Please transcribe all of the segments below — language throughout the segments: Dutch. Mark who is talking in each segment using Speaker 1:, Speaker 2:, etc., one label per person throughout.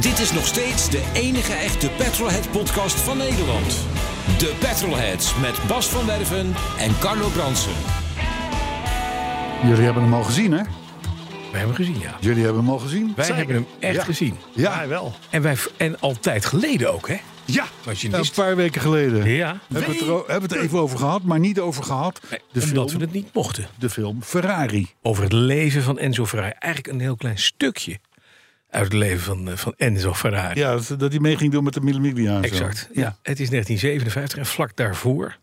Speaker 1: Dit is nog steeds de enige echte Petrolhead-podcast van Nederland. De Petrolheads met Bas van Werven en Carlo Bransen.
Speaker 2: Jullie hebben hem al gezien, hè?
Speaker 3: We hebben hem gezien, ja.
Speaker 2: Jullie hebben hem al gezien.
Speaker 3: Wij hebben hem echt
Speaker 2: Ja.
Speaker 3: gezien.
Speaker 2: Ja.
Speaker 4: Ja, wel.
Speaker 3: En, wij, en altijd geleden ook, hè?
Speaker 2: Ja,
Speaker 3: Was je
Speaker 2: een
Speaker 3: niet wist.
Speaker 2: paar weken geleden.
Speaker 3: Ja.
Speaker 2: Hebben we het er, o- hebben we het even over gehad, maar niet over gehad. de,
Speaker 3: Omdat
Speaker 2: film,
Speaker 3: we het niet mochten.
Speaker 2: de film Ferrari.
Speaker 3: Over het leven van Enzo Ferrari. Eigenlijk een heel klein stukje uit het leven van, eh, van Enzo Ferrari.
Speaker 2: Ja, dat, dat hij mee ging doen met de Millimilia. en zo.
Speaker 3: Exact. Ja. Het is 1957 en vlak daarvoor.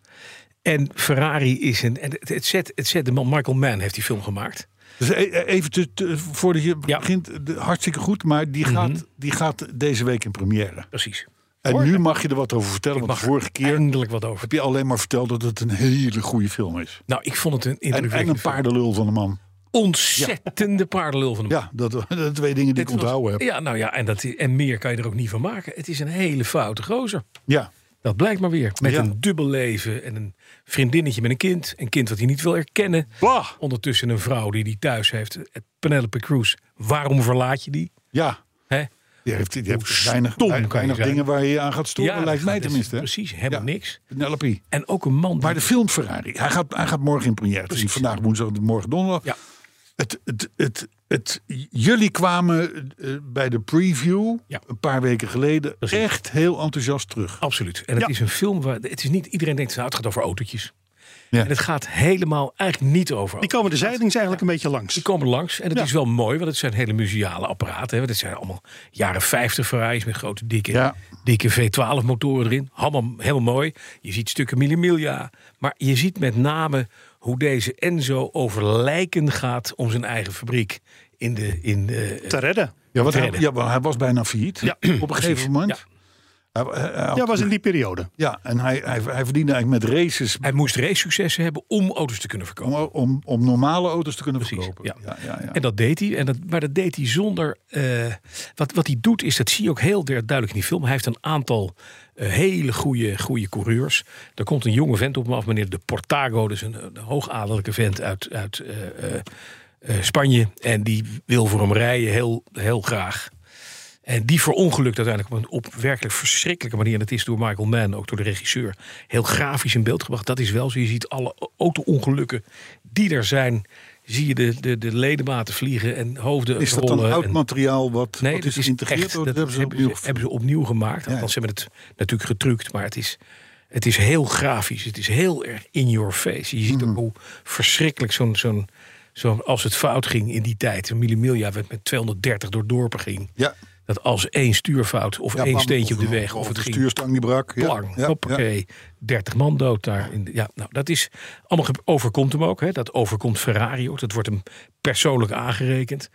Speaker 3: En Ferrari is een. En het, het, zet, het zet de man, Michael Mann heeft die film gemaakt.
Speaker 2: Dus e- e- even te, te- voordat je
Speaker 3: Ja.
Speaker 2: begint, de- hartstikke goed. Maar die gaat, die gaat deze week in première.
Speaker 3: Precies.
Speaker 2: En nu mag je er wat over vertellen. Want
Speaker 3: mag
Speaker 2: de
Speaker 3: er
Speaker 2: vorige keer
Speaker 3: Eindelijk wat over.
Speaker 2: heb je alleen maar verteld dat het een hele goede film is.
Speaker 3: Nou, ik vond het een
Speaker 2: En, en
Speaker 3: indrukwekkende
Speaker 2: een paardenlul van de man.
Speaker 3: film. Ontzettende paardenlul van hem.
Speaker 2: Ja, dat, dat twee dingen die ik
Speaker 3: Het was-
Speaker 2: onthouden heb.
Speaker 3: Ja, nou ja, en, dat, en meer kan je er ook niet van maken. Het is een hele foute gozer.
Speaker 2: Ja.
Speaker 3: Dat blijkt maar weer. Met
Speaker 2: Ja.
Speaker 3: een dubbel leven en een vriendinnetje met een kind. Een kind wat hij niet wil erkennen.
Speaker 2: Bah!
Speaker 3: Ondertussen een vrouw die hij thuis heeft. Eh, Penelope Cruz. Waarom verlaat je die?
Speaker 2: Ja.
Speaker 3: Hè?
Speaker 2: Die heeft, die heeft dus
Speaker 3: stom
Speaker 2: weinig,
Speaker 3: kan je
Speaker 2: weinig
Speaker 3: zijn?
Speaker 2: dingen waar je je aan gaat storen,
Speaker 3: dat
Speaker 2: lijkt mij
Speaker 3: gaat-
Speaker 2: tenminste. hè?
Speaker 3: Precies, helemaal
Speaker 2: Ja.
Speaker 3: niks.
Speaker 2: Penelope.
Speaker 3: En ook een man.
Speaker 2: Maar de
Speaker 3: die-
Speaker 2: film Ferrari, hij gaat, hij gaat morgen in première. Het is
Speaker 3: Precies.
Speaker 2: vandaag woensdag, morgen donderdag.
Speaker 3: Ja.
Speaker 2: Het, het, het, het, jullie kwamen eh, bij de preview
Speaker 3: Ja.
Speaker 2: een paar weken geleden
Speaker 3: Precies. Oh,
Speaker 2: echt heel enthousiast terug.
Speaker 3: Absoluut. En het
Speaker 2: Ja.
Speaker 3: is een film waar het is niet iedereen denkt, nou, het gaat over autootjes.
Speaker 2: Ja.
Speaker 3: En het gaat helemaal eigenlijk niet over.
Speaker 4: Die komen de zijdelings eigenlijk een beetje
Speaker 3: Die
Speaker 4: langs.
Speaker 3: komen langs en dat is wel mooi, want het zijn hele museale apparaten. Hè. Dat zijn allemaal jaren 50 Ferraris met grote dikke,
Speaker 2: Ja.
Speaker 3: dikke V12 motoren erin. Allemaal heel mooi. Je ziet stukken millimilia. Maar je ziet met name hoe deze Enzo over lijken gaat om zijn eigen fabriek. In de, in de, eh,
Speaker 4: Te redden.
Speaker 2: Ja, want hij,
Speaker 3: Reden.
Speaker 2: ja, want hij was bijna failliet
Speaker 4: Ja,
Speaker 2: op een gegeven moment. Hij, hij- hij had-
Speaker 4: Ja, was in die periode.
Speaker 2: ja, en hij, hij, hij verdiende eigenlijk met races
Speaker 3: hij moest race successen hebben om auto's te kunnen verkopen.
Speaker 2: om, om, om normale auto's te kunnen verkopen.
Speaker 3: ja.
Speaker 2: Ja, ja, ja.
Speaker 3: En dat deed hij. En dat, maar dat deed hij zonder. eh, wat, wat hij doet is, dat zie je ook heel der- duidelijk in die film. Hij heeft een aantal eh, hele goede, goede coureurs. Er komt een jonge vent op me af, meneer De Portago. Dus een, een hoogadellijke vent uit, uit eh, eh, eh, Spanje. En die wil voor hem rijden, heel, heel graag. En die verongelukt uiteindelijk op een op werkelijk verschrikkelijke manier. En dat is door Michael Mann, ook door de regisseur, heel grafisch in beeld gebracht. Dat is wel zo. Je ziet alle o- auto-ongelukken die er zijn. Zie je de, de, de ledematen vliegen en hoofden
Speaker 2: Is dat
Speaker 3: rollen.
Speaker 2: dan oud
Speaker 3: en-
Speaker 2: materiaal wat,
Speaker 3: Nee,
Speaker 2: wat
Speaker 3: dat
Speaker 2: is
Speaker 3: is
Speaker 2: geïntegreerd?
Speaker 3: echt,
Speaker 2: Oh,
Speaker 3: dat hebben ze,
Speaker 2: opnieuw
Speaker 3: hebben, ze opnieuw gemaakt.
Speaker 2: Ja.
Speaker 3: Althans, ze hebben het natuurlijk getrukt. Maar het is, het is heel grafisch. Het is heel erg in your face. Je ziet
Speaker 2: Mhm.
Speaker 3: ook hoe verschrikkelijk zo'n... zo'n zo'n als het fout ging in die tijd. Een Millimilia werd met 230 door dorpen ging.
Speaker 2: Ja.
Speaker 3: Dat als één stuurfout of
Speaker 2: Ja,
Speaker 3: één
Speaker 2: bam,
Speaker 3: steentje op de
Speaker 2: of-
Speaker 3: weg of,
Speaker 2: of
Speaker 3: het
Speaker 2: de
Speaker 3: ging
Speaker 2: stuurstang die brak. Ja,
Speaker 3: plang,
Speaker 2: ja, ja.
Speaker 3: hoppakee, 30 man dood daar. In de- ja, nou, dat is allemaal ge- overkomt hem ook. Hè, dat overkomt Ferrari ook. Dat wordt hem persoonlijk aangerekend.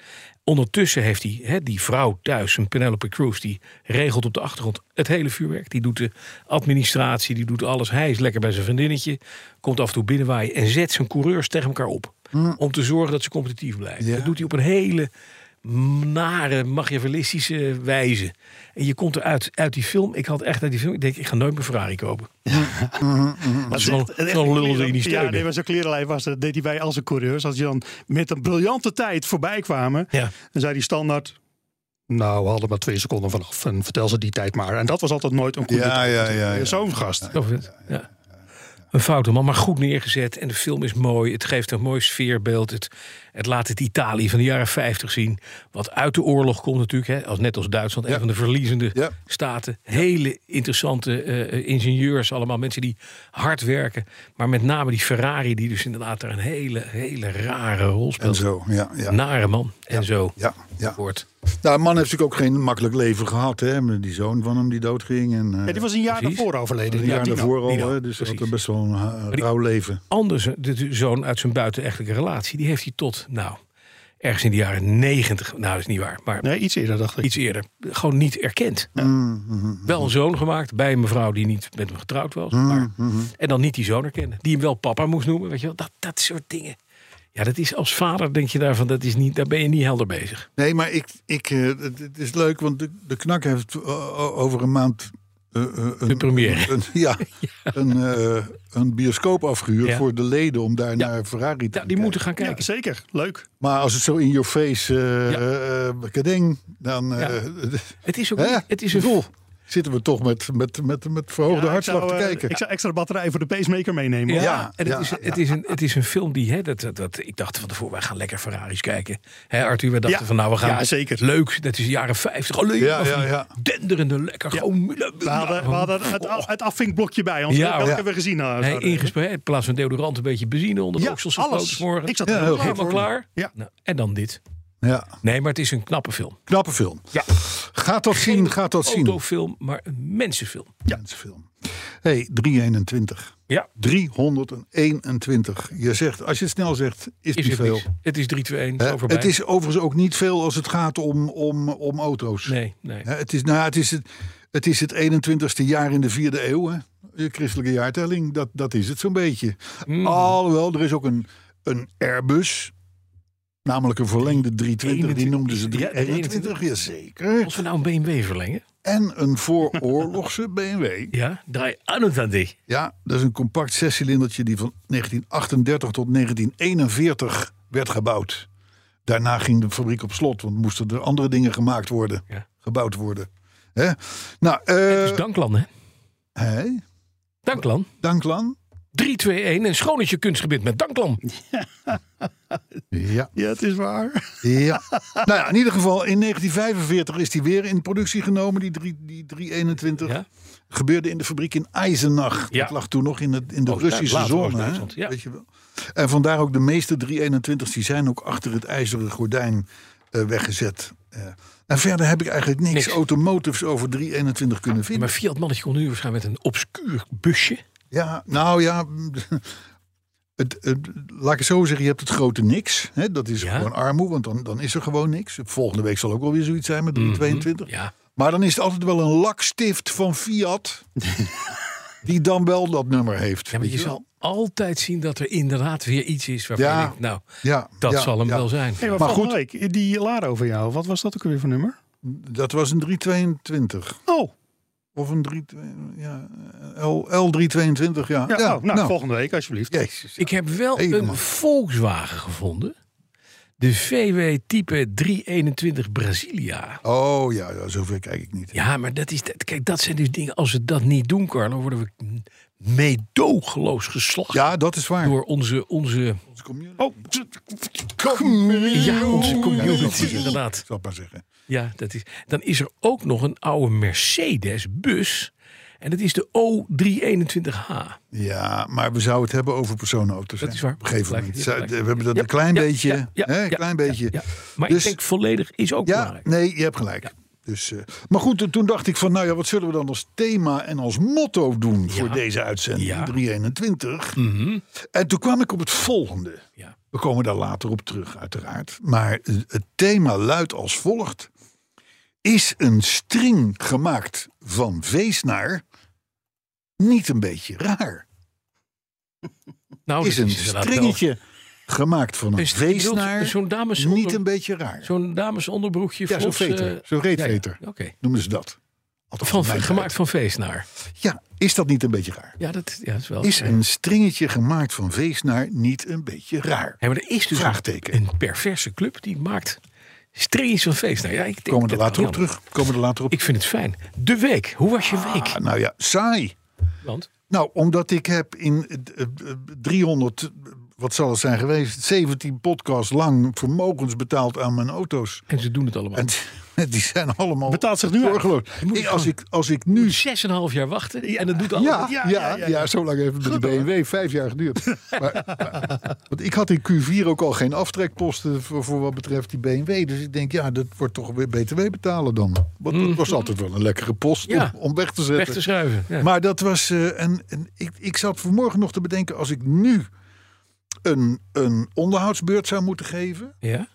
Speaker 3: Ondertussen heeft hij hè, die vrouw thuis, een Penelope Cruz, die regelt op de achtergrond het hele vuurwerk. Die doet de administratie, die doet alles. Hij is lekker bij zijn vriendinnetje, komt af en toe binnenwaaien en zet zijn coureurs tegen elkaar op. Om te zorgen dat ze competitief blijven.
Speaker 2: Ja.
Speaker 3: Dat doet hij op een hele nare, machiavellistische wijze. En je komt eruit uit die film. Ik had echt uit die film. Ik denk, ik ga nooit mijn Ferrari kopen. Dat is wel
Speaker 4: Echt- echt
Speaker 3: zo'n lul die je
Speaker 4: kleren-
Speaker 3: niet
Speaker 4: Ja,
Speaker 3: steunen.
Speaker 4: nee, maar zo'n klerenlijn was dat. deed hij bij als een coureurs. Als die dan met een briljante tijd voorbij kwamen,
Speaker 3: Ja.
Speaker 4: dan zei hij standaard... Nou, we hadden maar twee seconden vanaf en vertel ze die tijd maar. En dat was altijd nooit een goede
Speaker 2: Ja,
Speaker 4: tijd.
Speaker 2: ja, ja, ja.
Speaker 4: Zo'n gast.
Speaker 3: Zo is het. Ja. Een foute man, maar goed neergezet. En de film is mooi. Het geeft een mooi sfeerbeeld. Het, het laat het Italië van de jaren 50 zien. Wat uit de oorlog komt natuurlijk. Hè, als, net als Duitsland,
Speaker 2: Ja.
Speaker 3: een van de verliezende
Speaker 2: Ja.
Speaker 3: staten. Hele interessante eh, ingenieurs allemaal. Mensen die hard werken. Maar met name die Ferrari, die dus inderdaad daar een hele, hele rare rol
Speaker 2: En
Speaker 3: speelt.
Speaker 2: zo, ja. ja.
Speaker 3: Nare man. En zo
Speaker 2: Ja, ja.
Speaker 3: Nou, wordt.
Speaker 2: Nou, een man heeft natuurlijk ook geen makkelijk leven gehad. Hè? Met Die zoon van hem die doodging. En, eh,
Speaker 4: Ja, die was een jaar
Speaker 3: Precies.
Speaker 4: daarvoor overleden.
Speaker 2: een
Speaker 4: Ja,
Speaker 2: jaar
Speaker 4: die-
Speaker 2: daarvoor al.
Speaker 3: die dan,
Speaker 2: hè, dus hij had
Speaker 3: precies.
Speaker 2: een best wel een eh,
Speaker 3: die-
Speaker 2: rauw leven.
Speaker 3: Anders, de, de zoon uit zijn buitenechtelijke relatie, die heeft hij tot, nou, ergens in de jaren negentig, nou dat is niet waar, maar
Speaker 4: Nee, iets eerder dacht ik.
Speaker 3: iets eerder, gewoon niet erkend. Wel een zoon gemaakt bij een mevrouw die niet met hem getrouwd was. Maar, en dan niet die zoon herkennen, die hem wel papa moest noemen. Weet je wel, dat, dat soort dingen. Ja, dat is als vader denk je daarvan, dat is niet, daar ben je niet helder bezig.
Speaker 2: Nee, maar ik, ik, eh, het het is leuk, want de, de knak heeft eh, o- over een maand. eh, eh, een,
Speaker 3: De première.
Speaker 2: Een, ja, Een, eh, een bioscoop afgehuurd
Speaker 3: Ja.
Speaker 2: voor de leden om daar naar Ferrari te
Speaker 3: Ja,
Speaker 2: gaan
Speaker 3: Nou, die moeten
Speaker 2: kijken.
Speaker 3: gaan kijken.
Speaker 4: Ja, zeker. Leuk.
Speaker 2: Maar als het zo in your face, eh
Speaker 3: Ja.
Speaker 2: eh, kadeng, dan eh,
Speaker 3: Het is ook
Speaker 2: Hè?
Speaker 3: niet- het is een vol.
Speaker 2: zitten we toch met, met, met, met verhoogde
Speaker 4: Ja, ik
Speaker 2: hartslag
Speaker 4: zou,
Speaker 2: te
Speaker 4: eh,
Speaker 2: kijken.
Speaker 4: Ik zou extra batterij voor de pacemaker meenemen.
Speaker 3: Ja,
Speaker 4: hoor.
Speaker 2: Ja,
Speaker 3: en het,
Speaker 2: ja,
Speaker 3: is, het, is een, het is een film die, hè, dat, dat, dat- ik dacht van tevoren, wij gaan lekker Ferraris kijken. Hè, Arthur, wij dachten
Speaker 4: Ja.
Speaker 3: van nou, we gaan.
Speaker 4: Ja, zeker.
Speaker 3: Leuk, dat is jaren 50. Alleen
Speaker 2: Ja,
Speaker 3: maar van
Speaker 2: ja,
Speaker 3: die
Speaker 2: ja.
Speaker 3: denderende, lekker gewoon.
Speaker 4: We hadden, we hadden
Speaker 3: Oh,
Speaker 2: Oh.
Speaker 4: het, a- het afvinkblokje bij ons.
Speaker 3: Ja,
Speaker 4: dat
Speaker 3: hoor.
Speaker 4: hebben we gezien. nou,
Speaker 3: Nee,
Speaker 4: zouden-
Speaker 3: ingespreid, in plaats van deodorant een beetje benzine onder de
Speaker 4: ja,
Speaker 3: oksels gegoten
Speaker 4: alles.
Speaker 3: vanmorgen.
Speaker 4: Ik zat
Speaker 2: Ja,
Speaker 4: er
Speaker 2: heel
Speaker 4: heel
Speaker 2: goed.
Speaker 3: Helemaal klaar.
Speaker 4: Ja.
Speaker 3: Nou, en dan dit.
Speaker 2: Ja,
Speaker 3: Nee, maar het is een knappe film.
Speaker 2: knappe film. Ja. Gaat dat zien, gaat dat
Speaker 3: Een
Speaker 2: zien.
Speaker 3: autofilm, maar een mensenfilm.
Speaker 2: Mensenfilm. hey, 321.
Speaker 3: Ja,
Speaker 2: 321. Je zegt, als je het snel zegt, is,
Speaker 3: is
Speaker 2: niet
Speaker 3: het
Speaker 2: veel.
Speaker 3: niks. Het is 3-2-1,
Speaker 2: Hè,
Speaker 3: zo voorbij.
Speaker 2: het is overigens ook niet veel als het gaat om, om, om auto's.
Speaker 3: Nee, nee.
Speaker 2: Hè, het, is, nou, ja, het, is het, het is het 21ste jaar in de vierde eeuw. Hè? Je christelijke jaartelling, dat, dat is het zo'n beetje.
Speaker 3: Hmm.
Speaker 2: Alhoewel, er is ook een, een Airbus. Namelijk een verlengde 320, die
Speaker 3: 21.
Speaker 2: noemden ze
Speaker 3: Ja,
Speaker 2: 321.
Speaker 3: 21.
Speaker 2: Jazeker.
Speaker 3: Als we nou een BMW verlengen.
Speaker 2: En een vooroorlogse BMW.
Speaker 3: Ja, draai aan het aan die.
Speaker 2: Ja, dat is een compact zescilindertje die van 1938 tot 1941 werd gebouwd. Daarna ging de fabriek op slot, want moesten er andere dingen gemaakt worden,
Speaker 3: Ja.
Speaker 2: gebouwd worden. Hè? Nou, eh
Speaker 3: Dus Danklan, hè?
Speaker 2: hè?
Speaker 3: Danklan.
Speaker 2: Danklan.
Speaker 3: 3, 2, 1 en schoon is je kunstgebied met Danklam.
Speaker 2: Ja.
Speaker 4: Ja, het is waar.
Speaker 2: ja. nou ja, in ieder geval, in 1945 is die weer in productie genomen, die, drie, die 321.
Speaker 3: Ja.
Speaker 2: Gebeurde in de fabriek in Eisenach.
Speaker 3: Ja.
Speaker 2: Dat lag toen nog in, het, in de
Speaker 3: Oost-
Speaker 2: Russische
Speaker 3: later
Speaker 2: zone. hè?
Speaker 3: Oost-Duitsland, ja.
Speaker 2: Weet je wel. En vandaar ook de meeste 321's die zijn ook achter het ijzeren gordijn eh, weggezet. Eh, en verder heb ik eigenlijk niks,
Speaker 3: Niks.
Speaker 2: automotives over 321 kunnen vinden.
Speaker 3: Maar Fiat mannetje kon nu waarschijnlijk met een obscuur busje.
Speaker 2: Ja, nou ja. mm, Het, het- laat ik het zo zeggen, je hebt het grote niks. Hè? Dat is
Speaker 3: Ja.
Speaker 2: gewoon armoe, want dan, dan is er gewoon niks. Volgende week zal ook wel weer zoiets zijn met 322.
Speaker 3: Mhm, Ja.
Speaker 2: Maar dan is het altijd wel een lakstift van Fiat. die dan wel dat nummer heeft.
Speaker 3: ja, maar
Speaker 2: weet
Speaker 3: je
Speaker 2: je wel.
Speaker 3: zal altijd zien dat er inderdaad weer iets is waarvan
Speaker 2: Ja.
Speaker 3: je denkt, nou,
Speaker 2: Ja,
Speaker 3: dat
Speaker 2: ja,
Speaker 3: zal hem
Speaker 2: ja.
Speaker 3: wel zijn.
Speaker 4: Hey, maar
Speaker 2: Maar
Speaker 4: goed. Week, die Laro van jou, wat was dat ook weer voor nummer?
Speaker 2: Dat was een 322.
Speaker 4: Oh,
Speaker 2: Of een 322, ja, L, L322, ja.
Speaker 4: ja,
Speaker 2: ja
Speaker 4: oh, nou, volgende week alsjeblieft.
Speaker 2: Jezus.
Speaker 3: Ik heb wel
Speaker 2: Helemaal.
Speaker 3: een Volkswagen gevonden. De VW type 321 Brasilia.
Speaker 2: Oh ja, ja, zover kijk ik niet.
Speaker 3: Ja, maar dat is, dat- kijk, dat zijn dus dingen, als we dat niet doen, Carlo, worden we meedogenloos geslacht
Speaker 2: Ja, dat is waar.
Speaker 3: door onze, onze,
Speaker 2: Onze community.
Speaker 4: Oh,
Speaker 3: ja, onze community,
Speaker 2: Ja.
Speaker 3: inderdaad.
Speaker 2: Ik zal het maar zeggen.
Speaker 3: Ja, dat is. Dan is er ook nog een oude Mercedes-bus. En dat is de O321H.
Speaker 2: Ja, maar we zouden het hebben over personenauto's.
Speaker 3: Dat
Speaker 2: hè,
Speaker 3: is waar.
Speaker 2: Op een gegeven
Speaker 3: Gelijk,
Speaker 2: moment.
Speaker 3: ja,
Speaker 2: Zij-
Speaker 3: gelijk.
Speaker 2: We hebben dat
Speaker 3: Ja,
Speaker 2: een klein
Speaker 3: ja,
Speaker 2: beetje.
Speaker 3: ja, ja,
Speaker 2: hè, een
Speaker 3: ja,
Speaker 2: klein beetje.
Speaker 3: Ja. Maar
Speaker 2: Dus-
Speaker 3: ik denk volledig is ook
Speaker 2: Ja,
Speaker 3: belangrijk.
Speaker 2: nee, je hebt gelijk. Dus, eh, maar goed, toen- toen dacht ik van, nou ja, wat zullen we dan als thema en als motto doen voor deze uitzending
Speaker 3: Ja.
Speaker 2: 321? En toen kwam ik op het volgende.
Speaker 3: Ja.
Speaker 2: We komen daar later op terug, uiteraard. Maar eh, het thema luidt als volgt: Is een string gemaakt van veesnaar niet een beetje raar?
Speaker 3: Nou,
Speaker 2: is
Speaker 3: Oh, dat
Speaker 2: een
Speaker 3: inderdaad
Speaker 2: stringetje gemaakt van
Speaker 3: wel-
Speaker 2: een
Speaker 3: Een string- bedoelt
Speaker 2: veesnaar
Speaker 3: Zo'n dames
Speaker 2: niet een beetje raar?
Speaker 3: Zo'n damesonderbroekje.
Speaker 2: Ja, zo'n
Speaker 3: vlots,
Speaker 2: veter.
Speaker 3: eh,
Speaker 2: Zo'n reetveter.
Speaker 3: ja, ja, Oké.
Speaker 2: Noemen ze dat? Althans,
Speaker 3: Van,
Speaker 2: in mijn tijd.
Speaker 3: gemaakt van veesnaar.
Speaker 2: Ja, is dat niet een beetje raar?
Speaker 3: Ja, dat, ja, dat is wel.
Speaker 2: Is een stringetje gemaakt van veesnaar niet een beetje raar?
Speaker 3: Ja, maar er is dus
Speaker 2: Vraagteken.
Speaker 3: een perverse club die maakt strings van veesnaar. Ja, ik denk
Speaker 2: Komen we
Speaker 3: dat-
Speaker 2: er later op
Speaker 3: ja,
Speaker 2: terug? Komen we er later op?
Speaker 3: Ik vind het fijn. De week. Hoe was je week?
Speaker 2: Ah, nou ja, saai.
Speaker 3: Want
Speaker 2: Nou, omdat ik heb in eh, eh, 300, eh, wat zal het zijn geweest, 17 podcasts lang vermogens betaald aan mijn auto's.
Speaker 3: en ze doen het allemaal.
Speaker 2: En die zijn allemaal
Speaker 4: Betaalt zich nu uit.
Speaker 2: zorgeloos. Ik- Als ik, als ik nu
Speaker 3: zes en een half jaar wachten en dat doet alles.
Speaker 2: Ja, ja,
Speaker 4: Ja,
Speaker 2: ja,
Speaker 4: ja, ja.
Speaker 2: zo lang heeft het met de BMW vijf jaar geduurd. maar, maar- want ik had in Q4 ook al geen aftrekposten voor, voor wat betreft die BMW. Dus ik denk, ja, dat wordt toch weer BTW betalen dan. Want dat was altijd wel een lekkere post
Speaker 3: Ja.
Speaker 2: om, om Hmm. weg te zetten.
Speaker 3: weg te schuiven. Ja.
Speaker 2: Maar dat was. eh, en en ik, ik zat vanmorgen nog te bedenken, als ik nu een, een onderhoudsbeurt zou moeten geven.
Speaker 3: Ja?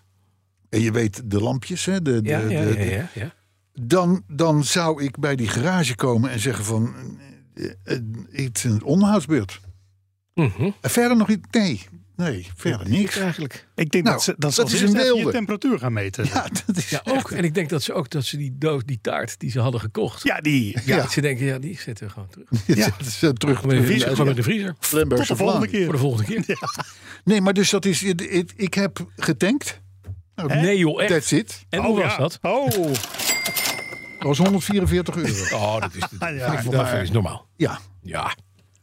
Speaker 2: en je weet de lampjes, hè, de, de,
Speaker 3: Ja, ja,
Speaker 2: de-
Speaker 3: ja, ja, ja.
Speaker 2: Dan, dan zou ik bij die garage komen en zeggen van... eh, eh, Het is een onderhoudsbeurt.
Speaker 3: Mhm.
Speaker 2: En verder nog iets? Nee, nee, verder niks.
Speaker 3: Eigenlijk.
Speaker 4: Ik denk
Speaker 2: Nou,
Speaker 4: dat ze, dat ze
Speaker 2: dat
Speaker 4: als
Speaker 2: is
Speaker 4: eerste
Speaker 2: een
Speaker 4: even je
Speaker 2: wilde.
Speaker 4: temperatuur gaan meten.
Speaker 2: Ja, dat is
Speaker 3: Ja,
Speaker 2: echt-
Speaker 3: ook. En ik denk dat ze ook dat ze die doos, die taart die ze hadden gekocht.
Speaker 4: Ja, die.
Speaker 2: Ja.
Speaker 3: Dat ze denken, ja, die zetten we gewoon terug.
Speaker 2: Ja, dat is, eh, terug
Speaker 3: Gewoon in de vriezer. Gewoon in de vriezer.
Speaker 4: Tot de volgende
Speaker 3: Voor
Speaker 4: keer.
Speaker 3: de volgende keer.
Speaker 2: Nee, maar dus dat is... het- het- Ik heb getankt. Nou,
Speaker 3: Nee joh, echt.
Speaker 2: That's it.
Speaker 3: En hoe was
Speaker 4: Oh, ja.
Speaker 3: dat?
Speaker 4: Oh,
Speaker 2: Dat was 144 euro.
Speaker 3: Oh, dat is, dat
Speaker 4: Ah, ja.
Speaker 3: vind ik voor mij
Speaker 2: Daar.
Speaker 3: is normaal.
Speaker 2: Ja.
Speaker 3: Ja.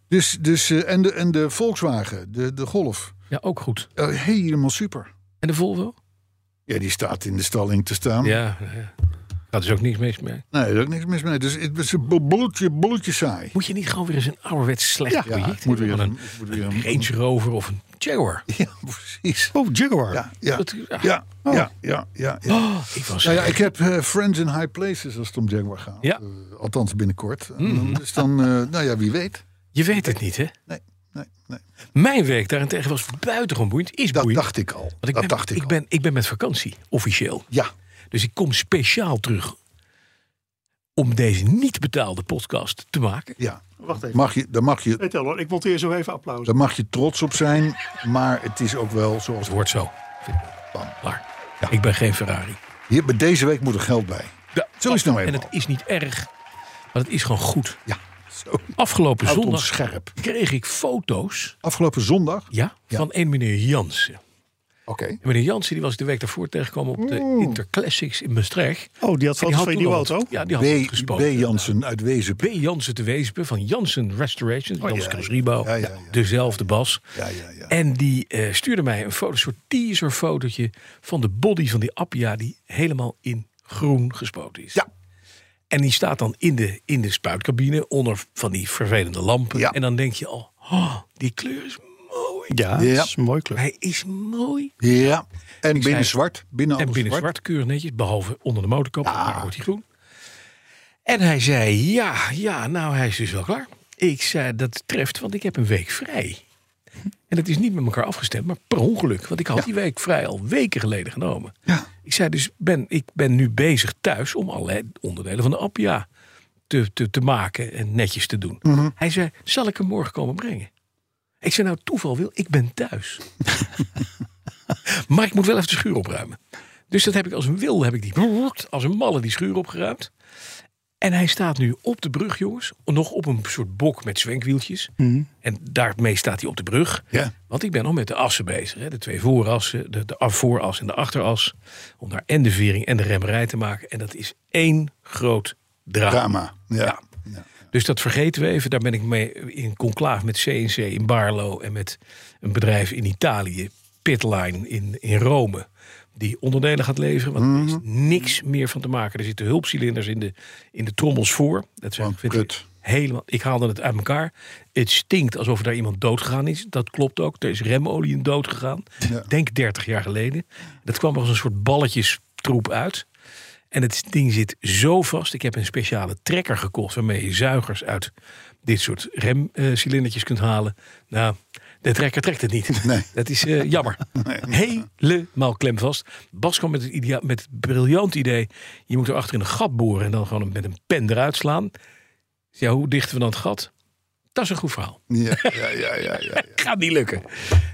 Speaker 2: Dus, dus, eh, en, de, en de Volkswagen, de, de Golf.
Speaker 3: ja, ook goed.
Speaker 2: Eh, helemaal super.
Speaker 3: En de Volvo?
Speaker 2: Ja, die staat in de stalling te staan.
Speaker 3: Ja, ja. dat is ook niks mis mee.
Speaker 2: Nee, daar is ook niks mis mee. Dus het is een bolletje, bolletje saai.
Speaker 3: Moet je niet gewoon weer eens een ouderwets slecht project
Speaker 2: moet weer
Speaker 3: hebben? Van
Speaker 2: een- moet weer een-
Speaker 3: een Range Rover of een Jaguar.
Speaker 2: Ja, precies.
Speaker 4: oh Jaguar.
Speaker 2: Ja, ja,
Speaker 3: Dat-
Speaker 2: ja, ja, ja, ja. ja.
Speaker 3: Oh, ik was...
Speaker 2: Nou ja, ik heb eh, Friends in High Places als het om Jaguar gaat.
Speaker 3: Ja. Mhm.
Speaker 2: Eh, althans binnenkort. En dan- Dus dan, eh, nou ja, wie weet.
Speaker 3: Je weet het niet, hè?
Speaker 2: Nee, nee, nee.
Speaker 3: Mijn week daarentegen was buitengewoon boeiend. Is
Speaker 2: Dat
Speaker 3: boeiend.
Speaker 2: dacht ik al.
Speaker 3: Want ik
Speaker 2: dat
Speaker 3: ben,
Speaker 2: dacht ik, al.
Speaker 3: ben, ik ben met vakantie, officieel.
Speaker 2: Ja,
Speaker 3: Dus ik kom speciaal terug om deze niet betaalde podcast te maken.
Speaker 2: ja.
Speaker 4: Wacht even.
Speaker 2: Mag je, daar, mag je,
Speaker 4: Weet je wel, hoor, ik monteer zo even applaus.
Speaker 2: daar mag je trots op zijn. Maar het is ook wel zoals
Speaker 3: Het wordt zo.
Speaker 2: Bam.
Speaker 3: Klaar. Ik ben geen Ferrari.
Speaker 2: Hier, bij deze week moet er geld bij. Zo is het nou
Speaker 3: En
Speaker 2: eenmaal.
Speaker 3: het is niet erg, maar het is gewoon goed.
Speaker 2: Ja, zo.
Speaker 3: Afgelopen
Speaker 2: Houdt ons
Speaker 3: zondag
Speaker 2: scherp.
Speaker 3: kreeg ik foto's
Speaker 2: Afgelopen zondag.
Speaker 3: ja,
Speaker 2: Ja.
Speaker 3: van een meneer Jansen.
Speaker 2: Oké.
Speaker 3: En meneer Jansen die was ik de week daarvoor tegengekomen op de
Speaker 2: Mm.
Speaker 3: Interclassics in Maastricht.
Speaker 4: Oh, die had
Speaker 3: En
Speaker 4: foto's van je
Speaker 3: toen
Speaker 4: nieuwe
Speaker 3: al
Speaker 4: auto?
Speaker 3: wat- Ja, die
Speaker 2: B,
Speaker 3: had wat
Speaker 2: B.
Speaker 3: gespoten.
Speaker 2: Jansen uit Wezen.
Speaker 3: B. Jansen te Weespen van Jansen Restoration. Jansen
Speaker 2: Oh, ja,
Speaker 3: Chris
Speaker 2: ja.
Speaker 3: Ribo,
Speaker 2: Ja, ja, ja.
Speaker 3: dezelfde Bas.
Speaker 2: Ja, ja, ja.
Speaker 3: En die eh, stuurde mij een foto, een soort teaserfotootje van de body van die Appia die helemaal in groen gespoten is.
Speaker 2: Ja.
Speaker 3: En die staat dan in de, in de spuitcabine onder van die vervelende lampen.
Speaker 2: Ja.
Speaker 3: En dan denk je al, oh, die kleur is mooi.
Speaker 4: Ja,
Speaker 2: Ja.
Speaker 4: dat is een mooi kleur.
Speaker 3: Hij is mooi.
Speaker 2: ja. En binnen
Speaker 3: zei-
Speaker 2: zwart. Binnen
Speaker 3: En
Speaker 2: alles
Speaker 3: binnen
Speaker 2: zwart.
Speaker 3: zwart, keurig netjes, behalve onder de motorkap, daar wordt hij groen. En hij zei, ja, ja, nou hij is dus wel klaar. Ik zei, dat treft, want ik heb een week vrij. En dat is niet met elkaar afgestemd, maar per ongeluk. Want ik had die week vrij al weken geleden genomen.
Speaker 2: Ja.
Speaker 3: Ik zei dus, ben, ik ben nu bezig thuis om allerlei onderdelen van de Appia te, te, te maken en netjes te doen.
Speaker 2: Mhm.
Speaker 3: Hij zei, zal ik hem morgen komen brengen? Ik zei, nou toeval wil, ik ben thuis. maar ik moet wel even de schuur opruimen. Dus dat heb ik als een wil, heb ik die als een malle die schuur opgeruimd. En hij staat nu op de brug, jongens. Nog op een soort bok met zwenkwieltjes. En daarmee staat hij op de brug.
Speaker 2: Ja.
Speaker 3: Want ik ben nog met de assen bezig. Hè. De twee voorassen, de, de af- vooras en de achteras. Om daar en de vering en de remmerij te maken. En dat is één groot drama.
Speaker 2: Drama. Ja. ja.
Speaker 3: Dus dat vergeten we even. Daar ben ik mee in conclaaf met CNC in Barlo en met een bedrijf in Italië, Pitline in, in Rome, die onderdelen gaat leveren. Want er is niks meer van te maken. Er zitten hulpcilinders in de, in de trommels voor. Dat zijn
Speaker 2: Want
Speaker 3: vind ik
Speaker 2: kut.
Speaker 3: helemaal. Ik haalde het uit elkaar. Het stinkt alsof er daar iemand doodgegaan is. Dat klopt ook. Er is remolie in doodgegaan.
Speaker 2: Ja.
Speaker 3: Denk 30 jaar geleden. Dat kwam als een soort balletjestroep uit. En het ding zit zo vast. Ik heb een speciale trekker gekocht waarmee je zuigers uit dit soort remcilindertjes kunt halen. Nou, de trekker trekt het niet.
Speaker 2: Nee.
Speaker 3: Dat is eh, jammer. Helemaal klemvast. Bas kwam met het, idea- met het briljant idee. Je moet erachter in een gat boren en dan gewoon met een pen eruit slaan. Dus ja, hoe dichten we dan het gat? Dat is een goed verhaal.
Speaker 2: Ja, ja, ja, ja, ja.
Speaker 3: Gaat niet lukken.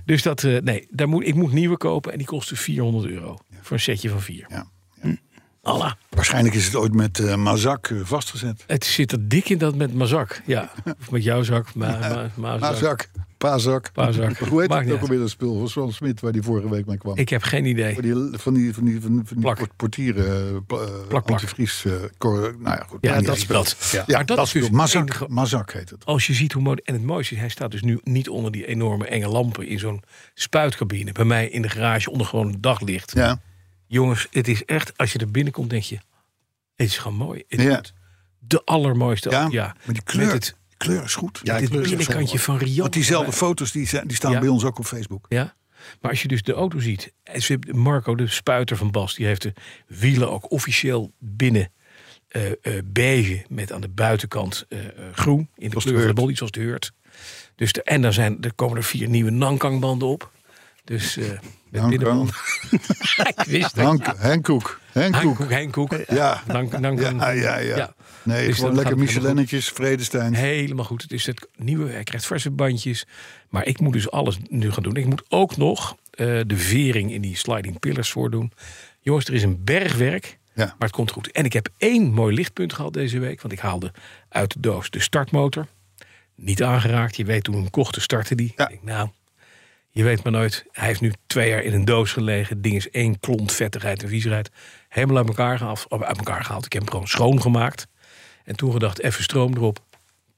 Speaker 3: Dus dat, eh, nee, daar moet, ik moet nieuwe kopen en die kosten 400 euro. Voor een setje van vier.
Speaker 2: Ja.
Speaker 3: Allah.
Speaker 2: Waarschijnlijk is het ooit met eh, Mazak eh, vastgezet.
Speaker 3: Het zit er dik in dat met mijn zak. Ja, of met jouw zak, maar maar- maar zak.
Speaker 2: Mazak. Pazak.
Speaker 3: Paar zak.
Speaker 2: Hoe heet het
Speaker 3: Maakt niet
Speaker 2: ook
Speaker 3: uit.
Speaker 2: alweer dat spul van Swan Smit waar die vorige week mee kwam?
Speaker 3: Ik heb geen idee.
Speaker 2: Van die, van die, van die, van die
Speaker 3: Plak.
Speaker 2: port- portieren, eh, pla- eh,
Speaker 3: plak.
Speaker 2: antivries, eh, cor- nou ja, goed.
Speaker 3: Ja,
Speaker 2: maakt niet
Speaker 3: dat
Speaker 2: uit.
Speaker 3: speelt.
Speaker 2: Ja,
Speaker 3: Maar
Speaker 2: dat,
Speaker 3: dat is
Speaker 2: spul.
Speaker 3: dus
Speaker 2: Mazak,
Speaker 3: enige-
Speaker 2: Mazak heet het.
Speaker 3: Als je ziet hoe mooi. En het mooiste is, hij staat dus nu niet onder die enorme enge lampen in zo'n spuitcabine. Bij mij in de garage onder gewoon het daglicht.
Speaker 2: Ja.
Speaker 3: Jongens, het is echt, als je er binnenkomt, denk je: het is gewoon mooi. Het
Speaker 2: Ja.
Speaker 3: wordt de allermooiste.
Speaker 2: Ja,
Speaker 3: ja.
Speaker 2: maar die kleur,
Speaker 3: Met het,
Speaker 2: die kleur is goed.
Speaker 4: Ja,
Speaker 3: met
Speaker 4: die
Speaker 3: het
Speaker 4: kleur is
Speaker 3: binnenkantje van Rian.
Speaker 2: Want diezelfde foto's die, zijn, die staan
Speaker 3: Ja.
Speaker 2: bij ons ook op Facebook.
Speaker 3: Ja. Maar als je dus de auto ziet, en ze hebben- Marco de spuiter van Bas, die heeft de wielen ook officieel binnen eh, eh, beige met aan de buitenkant eh, eh, groen in de
Speaker 2: Zoals de
Speaker 3: kleur van de
Speaker 2: Hurt.
Speaker 3: body, zoals de Hurt. Dus de, en dan zijn, er komen er vier nieuwe Nankang-banden op. Dus eh met
Speaker 2: Dank
Speaker 3: binnenman.
Speaker 2: wel.
Speaker 3: Ik wist het.
Speaker 2: Hank, Henk Koek. Henk
Speaker 3: Henk
Speaker 2: Koek.
Speaker 3: Koek, Henk Koek.
Speaker 2: Ja.
Speaker 3: Dank, dank
Speaker 2: Ja, ja, ja.
Speaker 3: Ja.
Speaker 2: Nee, gewoon
Speaker 3: Dus dat
Speaker 2: lekker
Speaker 3: gaat helemaal goed.
Speaker 2: Michelinnetjes, Vredestein.
Speaker 3: Helemaal goed. Het is het nieuwe. Hij krijgt verse bandjes. Maar ik moet dus alles nu gaan doen. Ik moet ook nog eh, de vering in die sliding pillars voordoen. Jongens, er is een bergwerk.
Speaker 2: Ja.
Speaker 3: Maar het komt goed. En ik heb één mooi lichtpunt gehad deze week. Want ik haalde uit de doos de startmotor. Niet aangeraakt. Je weet toen we hem kochten startte die.
Speaker 2: Ja.
Speaker 3: Ik denk, nou, je weet maar nooit. Hij heeft nu twee jaar in een doos gelegen. Het ding is één klont vettigheid en viezigheid. Helemaal uit elkaar, gehaald, uit elkaar gehaald. Ik heb hem gewoon schoongemaakt. En toen gedacht, even stroom erop.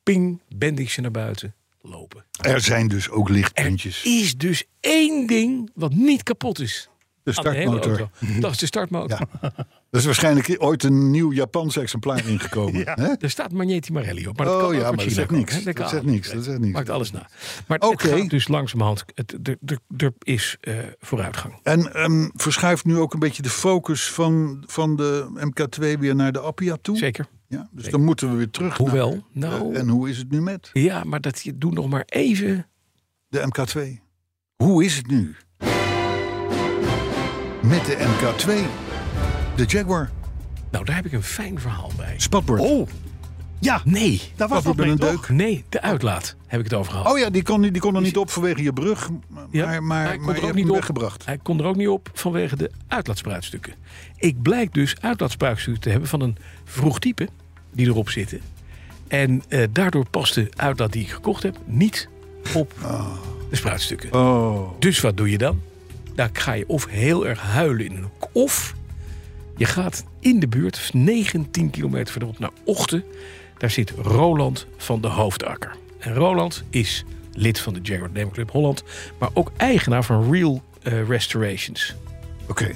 Speaker 3: Ping, bendingsje naar buiten. Lopen.
Speaker 2: Er zijn dus ook lichtpuntjes.
Speaker 3: Is dus één ding wat niet kapot is.
Speaker 2: De
Speaker 3: Aan hele
Speaker 2: startmotor.
Speaker 3: auto. Dat is de startmotor.
Speaker 2: Er is waarschijnlijk ooit een nieuw Japans exemplaar ingekomen. hè?
Speaker 3: Er staat Magneti Marelli op. Maar dat
Speaker 2: Oh
Speaker 3: kan ook
Speaker 2: ja,
Speaker 3: uit
Speaker 2: maar dat
Speaker 3: China
Speaker 2: zegt
Speaker 3: komen,
Speaker 2: niks.
Speaker 3: hè.
Speaker 2: Dat
Speaker 3: kan
Speaker 2: zegt
Speaker 3: allemaal.
Speaker 2: niks. Dat zegt niks.
Speaker 3: Maakt alles na. Maar
Speaker 2: Oké.
Speaker 3: het gaat dus langzamerhand. Het, er, er, er is eh, vooruitgang.
Speaker 2: En ehm, verschuift nu ook een beetje de focus van, van de MK2 weer naar de Appia toe.
Speaker 3: Zeker.
Speaker 2: Ja, dus dan moeten we weer terug. naar-
Speaker 3: Hoewel, nou-
Speaker 2: Eh, en hoe is het nu met
Speaker 3: Ja, maar dat je- doe nog maar even.
Speaker 2: de MK2? Hoe is het nu? Met de MK2. De Jaguar.
Speaker 3: Nou, daar heb ik een fijn verhaal bij.
Speaker 2: Spatbord. Oh,
Speaker 4: Ja,
Speaker 3: Nee,
Speaker 4: daar was
Speaker 2: we
Speaker 4: wat
Speaker 2: met
Speaker 4: mee,
Speaker 2: een
Speaker 4: toch?
Speaker 2: deuk. Oh
Speaker 3: nee, de uitlaat heb ik het over gehad.
Speaker 2: ja, die kon, die kon er niet op vanwege je brug. Maar,
Speaker 3: Ja,
Speaker 2: maar,
Speaker 3: hij
Speaker 2: maar,
Speaker 3: kon
Speaker 2: maar je
Speaker 3: er ook
Speaker 2: hebt
Speaker 3: niet
Speaker 2: hem
Speaker 3: op.
Speaker 2: weggebracht.
Speaker 3: Hij kon er ook niet op vanwege de uitlaatspruitstukken. Ik blijk dus uitlaatspruitstukken te hebben van een vroeg type die erop zitten. En eh, daardoor past de uitlaat die ik gekocht heb niet op de spruitstukken.
Speaker 2: Ah. Oh.
Speaker 3: Dus wat doe je dan? Daar ga je of heel erg huilen in een hoek. Of je gaat in de buurt, 19 kilometer verderop, naar Ochten. Daar zit Roland van de Hoofdakker. En Roland is lid van de Jaguar Demo Club Holland. Maar ook eigenaar van Real eh, Restorations.
Speaker 2: Oké.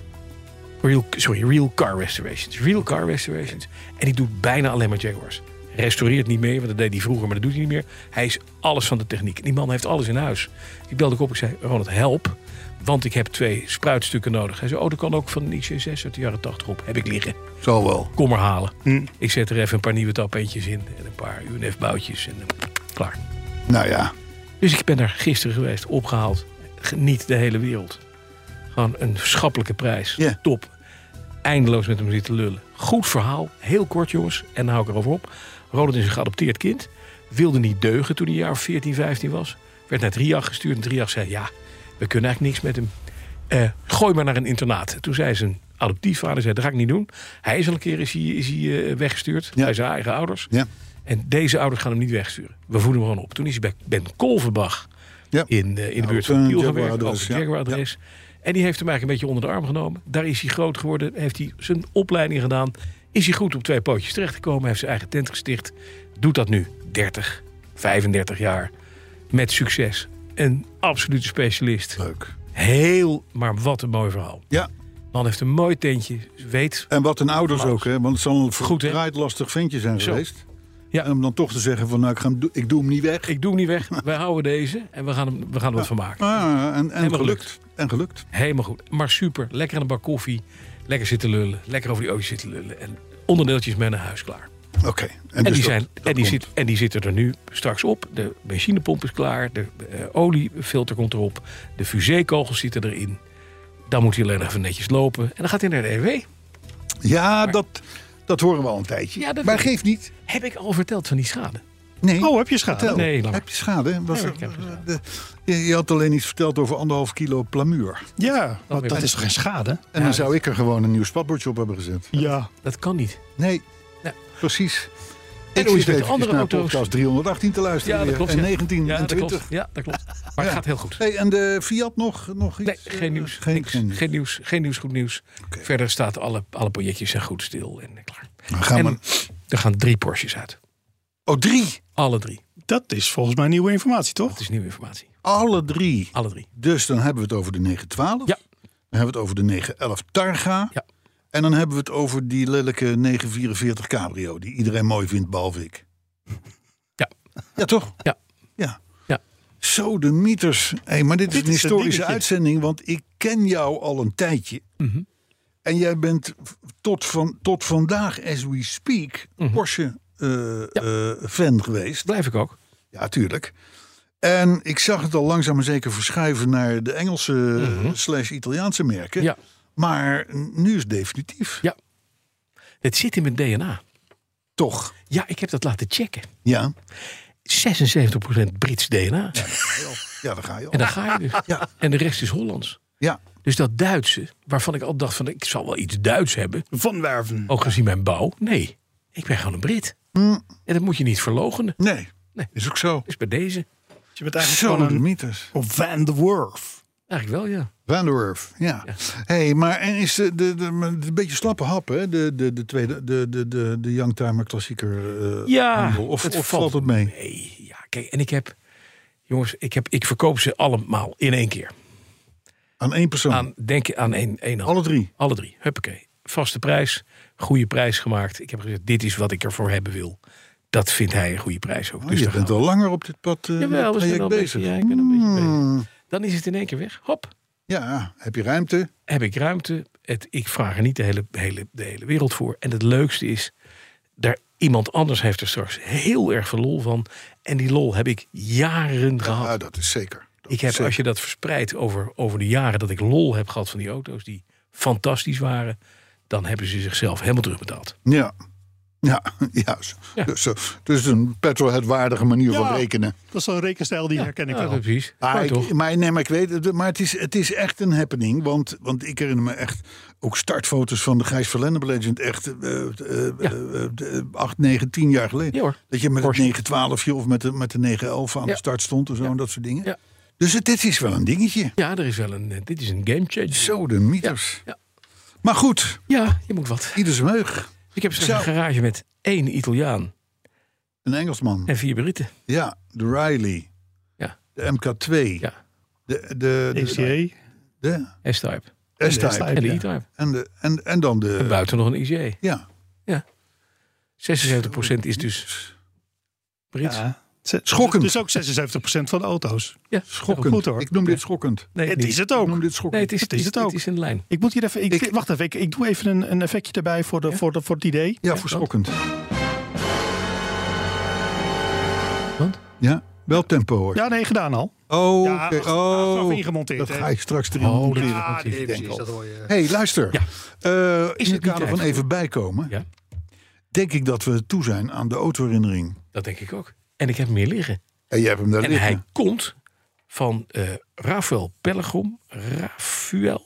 Speaker 3: Real, sorry, Real Car Restorations. Real Car Restorations. En die doet bijna alleen maar Jaguars. Restaureert niet meer, want dat deed hij vroeger, maar dat doet hij niet meer. Hij is alles van de techniek. Die man heeft alles in huis. Ik belde ik op, ik zei, Ronald, help. Want ik heb twee spruitstukken nodig. Hij zei, oh, dat kan ook van een XC6 uit de jaren 80 op. Heb ik liggen.
Speaker 2: Zo wel. Hm.
Speaker 3: Kom maar halen. Ik zet er even een paar nieuwe tappeetjes in. En een paar UNF-boutjes. En eh, klaar.
Speaker 2: Nou ja.
Speaker 3: Dus ik ben daar gisteren geweest, opgehaald. Geniet de hele wereld. Gewoon een schappelijke prijs.
Speaker 2: Ja.
Speaker 3: Top. Eindeloos met hem zitten lullen. Goed verhaal. Heel kort, jongens. En dan hou ik erover op. Roland is een geadopteerd kind. Wilde niet deugen toen hij een jaar of 14, 15 was. Werd naar Triag gestuurd. En Triag zei, ja, we kunnen eigenlijk niks met hem. Eh, gooi maar naar een internaat. Toen zei zijn adoptiefvader, zei, dat ga ik niet doen. Hij is al een keer is hij, is hij, eh, weggestuurd.
Speaker 2: Ja.
Speaker 3: Bij zijn eigen ouders.
Speaker 2: Ja.
Speaker 3: En deze ouders gaan hem niet wegsturen. We voeden hem gewoon op. Toen is hij bij Ben Kolverbach
Speaker 2: Ja.
Speaker 3: in, eh, in de
Speaker 2: Ja,
Speaker 3: buurt
Speaker 2: ook
Speaker 3: van
Speaker 2: een
Speaker 3: Tiel
Speaker 2: Jaguar
Speaker 3: gewerkt. Ook
Speaker 2: adres,
Speaker 3: een
Speaker 2: ja.
Speaker 3: Jaguar adres. En die heeft hem eigenlijk een beetje onder de arm genomen. Daar is hij groot geworden. Heeft hij zijn opleiding gedaan. Is hij goed op twee pootjes terechtgekomen. Heeft zijn eigen tent gesticht. Doet dat nu 30, 35 jaar. Met succes. Een absolute specialist.
Speaker 2: Leuk.
Speaker 3: Heel, maar wat een mooi verhaal.
Speaker 2: Ja.
Speaker 3: Man heeft een mooi tentje. Weet,
Speaker 2: En wat een ouders ook, hè? Want het zal een
Speaker 3: Goed, hè?
Speaker 2: verdraaid lastig ventje zijn
Speaker 3: Zo.
Speaker 2: geweest.
Speaker 3: Ja.
Speaker 2: En om dan toch te zeggen van, nou, ik, ga hem do- ik doe hem niet weg.
Speaker 3: ik doe hem niet weg. Wij houden deze. En we gaan, hem, we gaan er wat van maken.
Speaker 2: Ah, en, en
Speaker 3: Helemaal
Speaker 2: gelukt.
Speaker 3: gelukt.
Speaker 2: En gelukt.
Speaker 3: Helemaal goed. Maar super. Lekker aan een bak koffie. Lekker zitten lullen. Lekker over die ootjes zitten lullen. En onderdeeltjes met naar huis klaar.
Speaker 2: Oké.
Speaker 3: En,
Speaker 2: dus
Speaker 3: die,
Speaker 2: dat-
Speaker 3: zijn,
Speaker 2: dat
Speaker 3: en, die
Speaker 2: komt.
Speaker 3: zit, en die zitten er nu straks op. De benzinepomp is klaar. De eh, oliefilter komt erop. De fusékogels zitten erin. Dan moet hij alleen nog even netjes lopen. En dan gaat hij naar de E EW.
Speaker 2: Ja, dat, dat horen we al een tijdje.
Speaker 3: Ja, dat-
Speaker 2: maar geeft niet.
Speaker 3: Heb ik al verteld van die schade?
Speaker 2: Nee.
Speaker 4: Oh, heb je schade?
Speaker 2: Vertel.
Speaker 3: Nee, laat maar.
Speaker 2: heb je schade? Was
Speaker 3: Ja,
Speaker 2: er-
Speaker 3: ik heb schade.
Speaker 2: de- je, je had alleen iets verteld over anderhalf kilo plamuur.
Speaker 4: Ja,
Speaker 3: Dat weer
Speaker 4: want dat
Speaker 3: wel.
Speaker 4: is toch geen schade?
Speaker 2: En dan zou ik er gewoon een nieuw spatbordje op hebben gezet.
Speaker 4: Ja.
Speaker 3: Dat kan niet.
Speaker 2: Nee,
Speaker 3: Ja.
Speaker 2: precies.
Speaker 3: En
Speaker 2: Ik
Speaker 3: hoe
Speaker 2: zit
Speaker 3: is het met
Speaker 2: eventjes
Speaker 3: andere
Speaker 2: naar
Speaker 3: auto's?
Speaker 2: podcast 318 te luisteren.
Speaker 3: Ja, dat
Speaker 2: weer.
Speaker 3: klopt.
Speaker 2: En
Speaker 3: ja.
Speaker 2: 19
Speaker 3: ja,
Speaker 2: en
Speaker 3: dat
Speaker 2: 20.
Speaker 3: Klopt. Ja, dat klopt. Maar het
Speaker 2: Ja.
Speaker 3: gaat heel goed.
Speaker 2: Hey, en de Fiat nog, nog
Speaker 3: Nee,
Speaker 2: iets?
Speaker 3: geen
Speaker 2: Eh,
Speaker 3: nieuws.
Speaker 2: Geen,
Speaker 3: niks.
Speaker 2: geen nieuws.
Speaker 3: Geen nieuws, geen nieuws, goed nieuws. Verder staat alle, alle projectjes zijn goed stil en klaar.
Speaker 2: Dan gaan we-
Speaker 3: en er gaan drie Porsches uit.
Speaker 2: Oh, drie.
Speaker 3: Alle drie.
Speaker 4: Dat is volgens mij nieuwe informatie, toch?
Speaker 3: Het is nieuwe informatie.
Speaker 2: Alle drie.
Speaker 3: Alle drie.
Speaker 2: Dus dan hebben we het over de 912.
Speaker 3: Ja.
Speaker 2: Dan hebben we het over de 911 Targa.
Speaker 3: Ja.
Speaker 2: En dan hebben we het over die lelijke 944 Cabrio. Die iedereen mooi vindt, behalve ik.
Speaker 3: Ja.
Speaker 2: Ja, toch?
Speaker 3: Ja.
Speaker 2: Ja.
Speaker 3: Ja.
Speaker 2: Zo de mieters. Hey, maar dit,
Speaker 4: Dit
Speaker 2: is een
Speaker 4: is het
Speaker 2: historische
Speaker 4: dingetje.
Speaker 2: uitzending, want ik ken jou al een tijdje.
Speaker 3: Mhm.
Speaker 2: En jij bent v- tot, van, tot vandaag, as we
Speaker 3: Mhm.
Speaker 2: speak, Porsche eh, eh, fan geweest.
Speaker 3: Blijf ik ook.
Speaker 2: Ja, tuurlijk. En ik zag het al langzaam maar zeker verschuiven naar de Engelse slash Italiaanse merken.
Speaker 3: Mhm. Ja.
Speaker 2: Maar nu is het definitief.
Speaker 3: Ja. Het zit in mijn DNA.
Speaker 2: Toch?
Speaker 3: Ja, ik heb dat laten checken.
Speaker 2: Ja.
Speaker 3: 76% Brits DNA.
Speaker 2: Ja, daar ga je
Speaker 3: En
Speaker 2: al.
Speaker 3: daar ga je dus.
Speaker 2: Ja.
Speaker 3: En de rest is Hollands.
Speaker 2: Ja.
Speaker 3: Dus dat Duitse, waarvan ik al dacht van ik zal wel iets Duits hebben.
Speaker 4: Van Werven.
Speaker 3: Ook gezien mijn bouw. Nee, ik ben gewoon een Brit.
Speaker 2: Mm.
Speaker 3: En dat moet je niet verlogenen.
Speaker 2: Nee.
Speaker 3: Nee.
Speaker 2: Is ook zo.
Speaker 3: Dus bij deze,
Speaker 4: Je bent eigenlijk
Speaker 2: Zo
Speaker 4: gewoon
Speaker 2: de
Speaker 4: een
Speaker 2: mythes.
Speaker 4: of Van de Werf.
Speaker 3: eigenlijk wel ja.
Speaker 2: Van der Werf, ja. hey, maar en is de, de, de, maar het is een beetje slappe hap, hè? De, de, de tweede, de, de, de, de Youngtimer klassieker. eh,
Speaker 3: Ja,
Speaker 2: handel. Of, of valt het mee?
Speaker 3: Nee, ja, kijk, en ik heb, jongens, ik, heb, ik verkoop ze allemaal in één keer.
Speaker 2: Aan één persoon.
Speaker 3: Aan, denk aan één, één hand.
Speaker 2: Oh. Alle drie.
Speaker 3: Alle drie, huppakee. Vaste prijs, goede prijs gemaakt. Ik heb gezegd, dit is wat ik ervoor hebben wil. Dat vindt hij een goede prijs ook.
Speaker 2: Oh,
Speaker 3: dus
Speaker 2: je
Speaker 3: daar
Speaker 2: bent
Speaker 3: gaan
Speaker 2: al langer op dit pad eh
Speaker 3: we. Jawel, we zijn
Speaker 2: traject
Speaker 3: al
Speaker 2: bezig. Mm. Hmm.
Speaker 3: bezig. Ja, ik ben een beetje bezig. Dan is het in één keer weg. Hop,
Speaker 2: Ja, heb je ruimte?
Speaker 3: heb ik ruimte. Het, ik vraag er niet de hele, hele, de hele wereld voor. En het leukste is, daar, iemand anders heeft er straks heel erg veel lol van. En die lol heb ik jaren gehad.
Speaker 2: Ja, Nou, dat is zeker. Dat
Speaker 3: Ah. Ik
Speaker 2: is
Speaker 3: heb,
Speaker 2: zeker.
Speaker 3: als je dat verspreidt over, over de jaren dat ik lol heb gehad van die auto's die fantastisch waren, dan hebben ze zichzelf helemaal terugbetaald.
Speaker 2: Ja. Ja, ja. zo-
Speaker 3: Ja.
Speaker 2: Dus, zo- dus een petrolhead-waardige manier van rekenen.
Speaker 4: Dat is zo'n rekenstijl die herken ik
Speaker 3: Ja,
Speaker 4: wel.
Speaker 3: precies.
Speaker 2: Maar,
Speaker 3: Maar toch?
Speaker 2: Ah, ik, maar, nee, maar ik weet het. Maar het is, het is echt een happening. Want, want ik herinner me echt ook startfoto's van de Gijs van Lennep Legend. Echt eh, eh, eh, eh, acht, negen, tien jaar geleden.
Speaker 3: Ja hoor.
Speaker 2: Dat je met
Speaker 3: Porsche.
Speaker 2: het 912 of met de, met de 911 aan
Speaker 3: Ja.
Speaker 2: de start stond en zo en dat soort dingen.
Speaker 3: Ja.
Speaker 2: Dus het, dit is wel een dingetje.
Speaker 3: Ja, er is wel een. eh, Dit is een game changer.
Speaker 2: Zo de meters.
Speaker 3: Ja.
Speaker 2: Maar goed,
Speaker 3: Ja, je moet wat.
Speaker 2: ieder zijn meug.
Speaker 3: Ik heb straks
Speaker 2: Zo.
Speaker 3: een garage met één Italiaan
Speaker 2: Een Engelsman.
Speaker 3: en vier Britten.
Speaker 2: Ja, de Riley.
Speaker 3: Ja.
Speaker 2: De MK2.
Speaker 3: Ja,
Speaker 2: De, de, de,
Speaker 4: ECA.
Speaker 2: de
Speaker 3: S-Type.
Speaker 2: S-Type.
Speaker 3: En de
Speaker 4: Ja.
Speaker 3: E-Type.
Speaker 2: En, de, en, en dan
Speaker 3: En
Speaker 2: de...
Speaker 3: buiten nog een E. IJ.
Speaker 2: Ja,
Speaker 3: 76% is dus Brits.
Speaker 4: Ja. Ze-
Speaker 2: Schokkend.
Speaker 4: Dus ook 76% van de auto's.
Speaker 3: dus- Ja,
Speaker 2: schokkend.
Speaker 4: Goed hoor.
Speaker 2: Ik noem dit schokkend.
Speaker 3: Nee,
Speaker 4: Het
Speaker 3: niet.
Speaker 4: is het
Speaker 2: Ik
Speaker 4: ook.
Speaker 2: noem dit schokkend.
Speaker 3: Nee, het is
Speaker 4: Het is het
Speaker 3: het
Speaker 4: ook.
Speaker 3: is in de lijn.
Speaker 4: Ik moet hier even. Ik,
Speaker 2: Ik-
Speaker 4: wacht even, ik, ik doe even een, een effectje erbij voor, de, voor, de, voor het idee.
Speaker 2: ja, voor schokkend.
Speaker 3: Want?
Speaker 2: Ja, wel tempo hoor.
Speaker 4: Ja, nee, gedaan al.
Speaker 2: Oh,
Speaker 4: Ja,
Speaker 2: oké.
Speaker 4: ach, achteraf
Speaker 2: oh,
Speaker 4: ingemonteerd,
Speaker 2: dat
Speaker 4: hè.
Speaker 2: ga ik straks erin
Speaker 3: Oh,
Speaker 2: monteren.
Speaker 3: ja. dat is-
Speaker 4: nee,
Speaker 3: denk
Speaker 4: precies,
Speaker 3: al.
Speaker 4: dat hoor je.
Speaker 2: hey, luister.
Speaker 3: Ja.
Speaker 2: Eh, in
Speaker 3: niet
Speaker 2: het kader
Speaker 3: tijd
Speaker 2: van
Speaker 3: voor?
Speaker 2: even bijkomen,
Speaker 3: Ja.
Speaker 2: denk ik dat we toe zijn aan de autoherinnering.
Speaker 3: Dat denk ik ook. En ik heb hem hier liggen.
Speaker 2: En jij hebt hem daar
Speaker 3: En
Speaker 2: liggen.
Speaker 3: hij komt van eh Rafael Pellegrom, Rafuel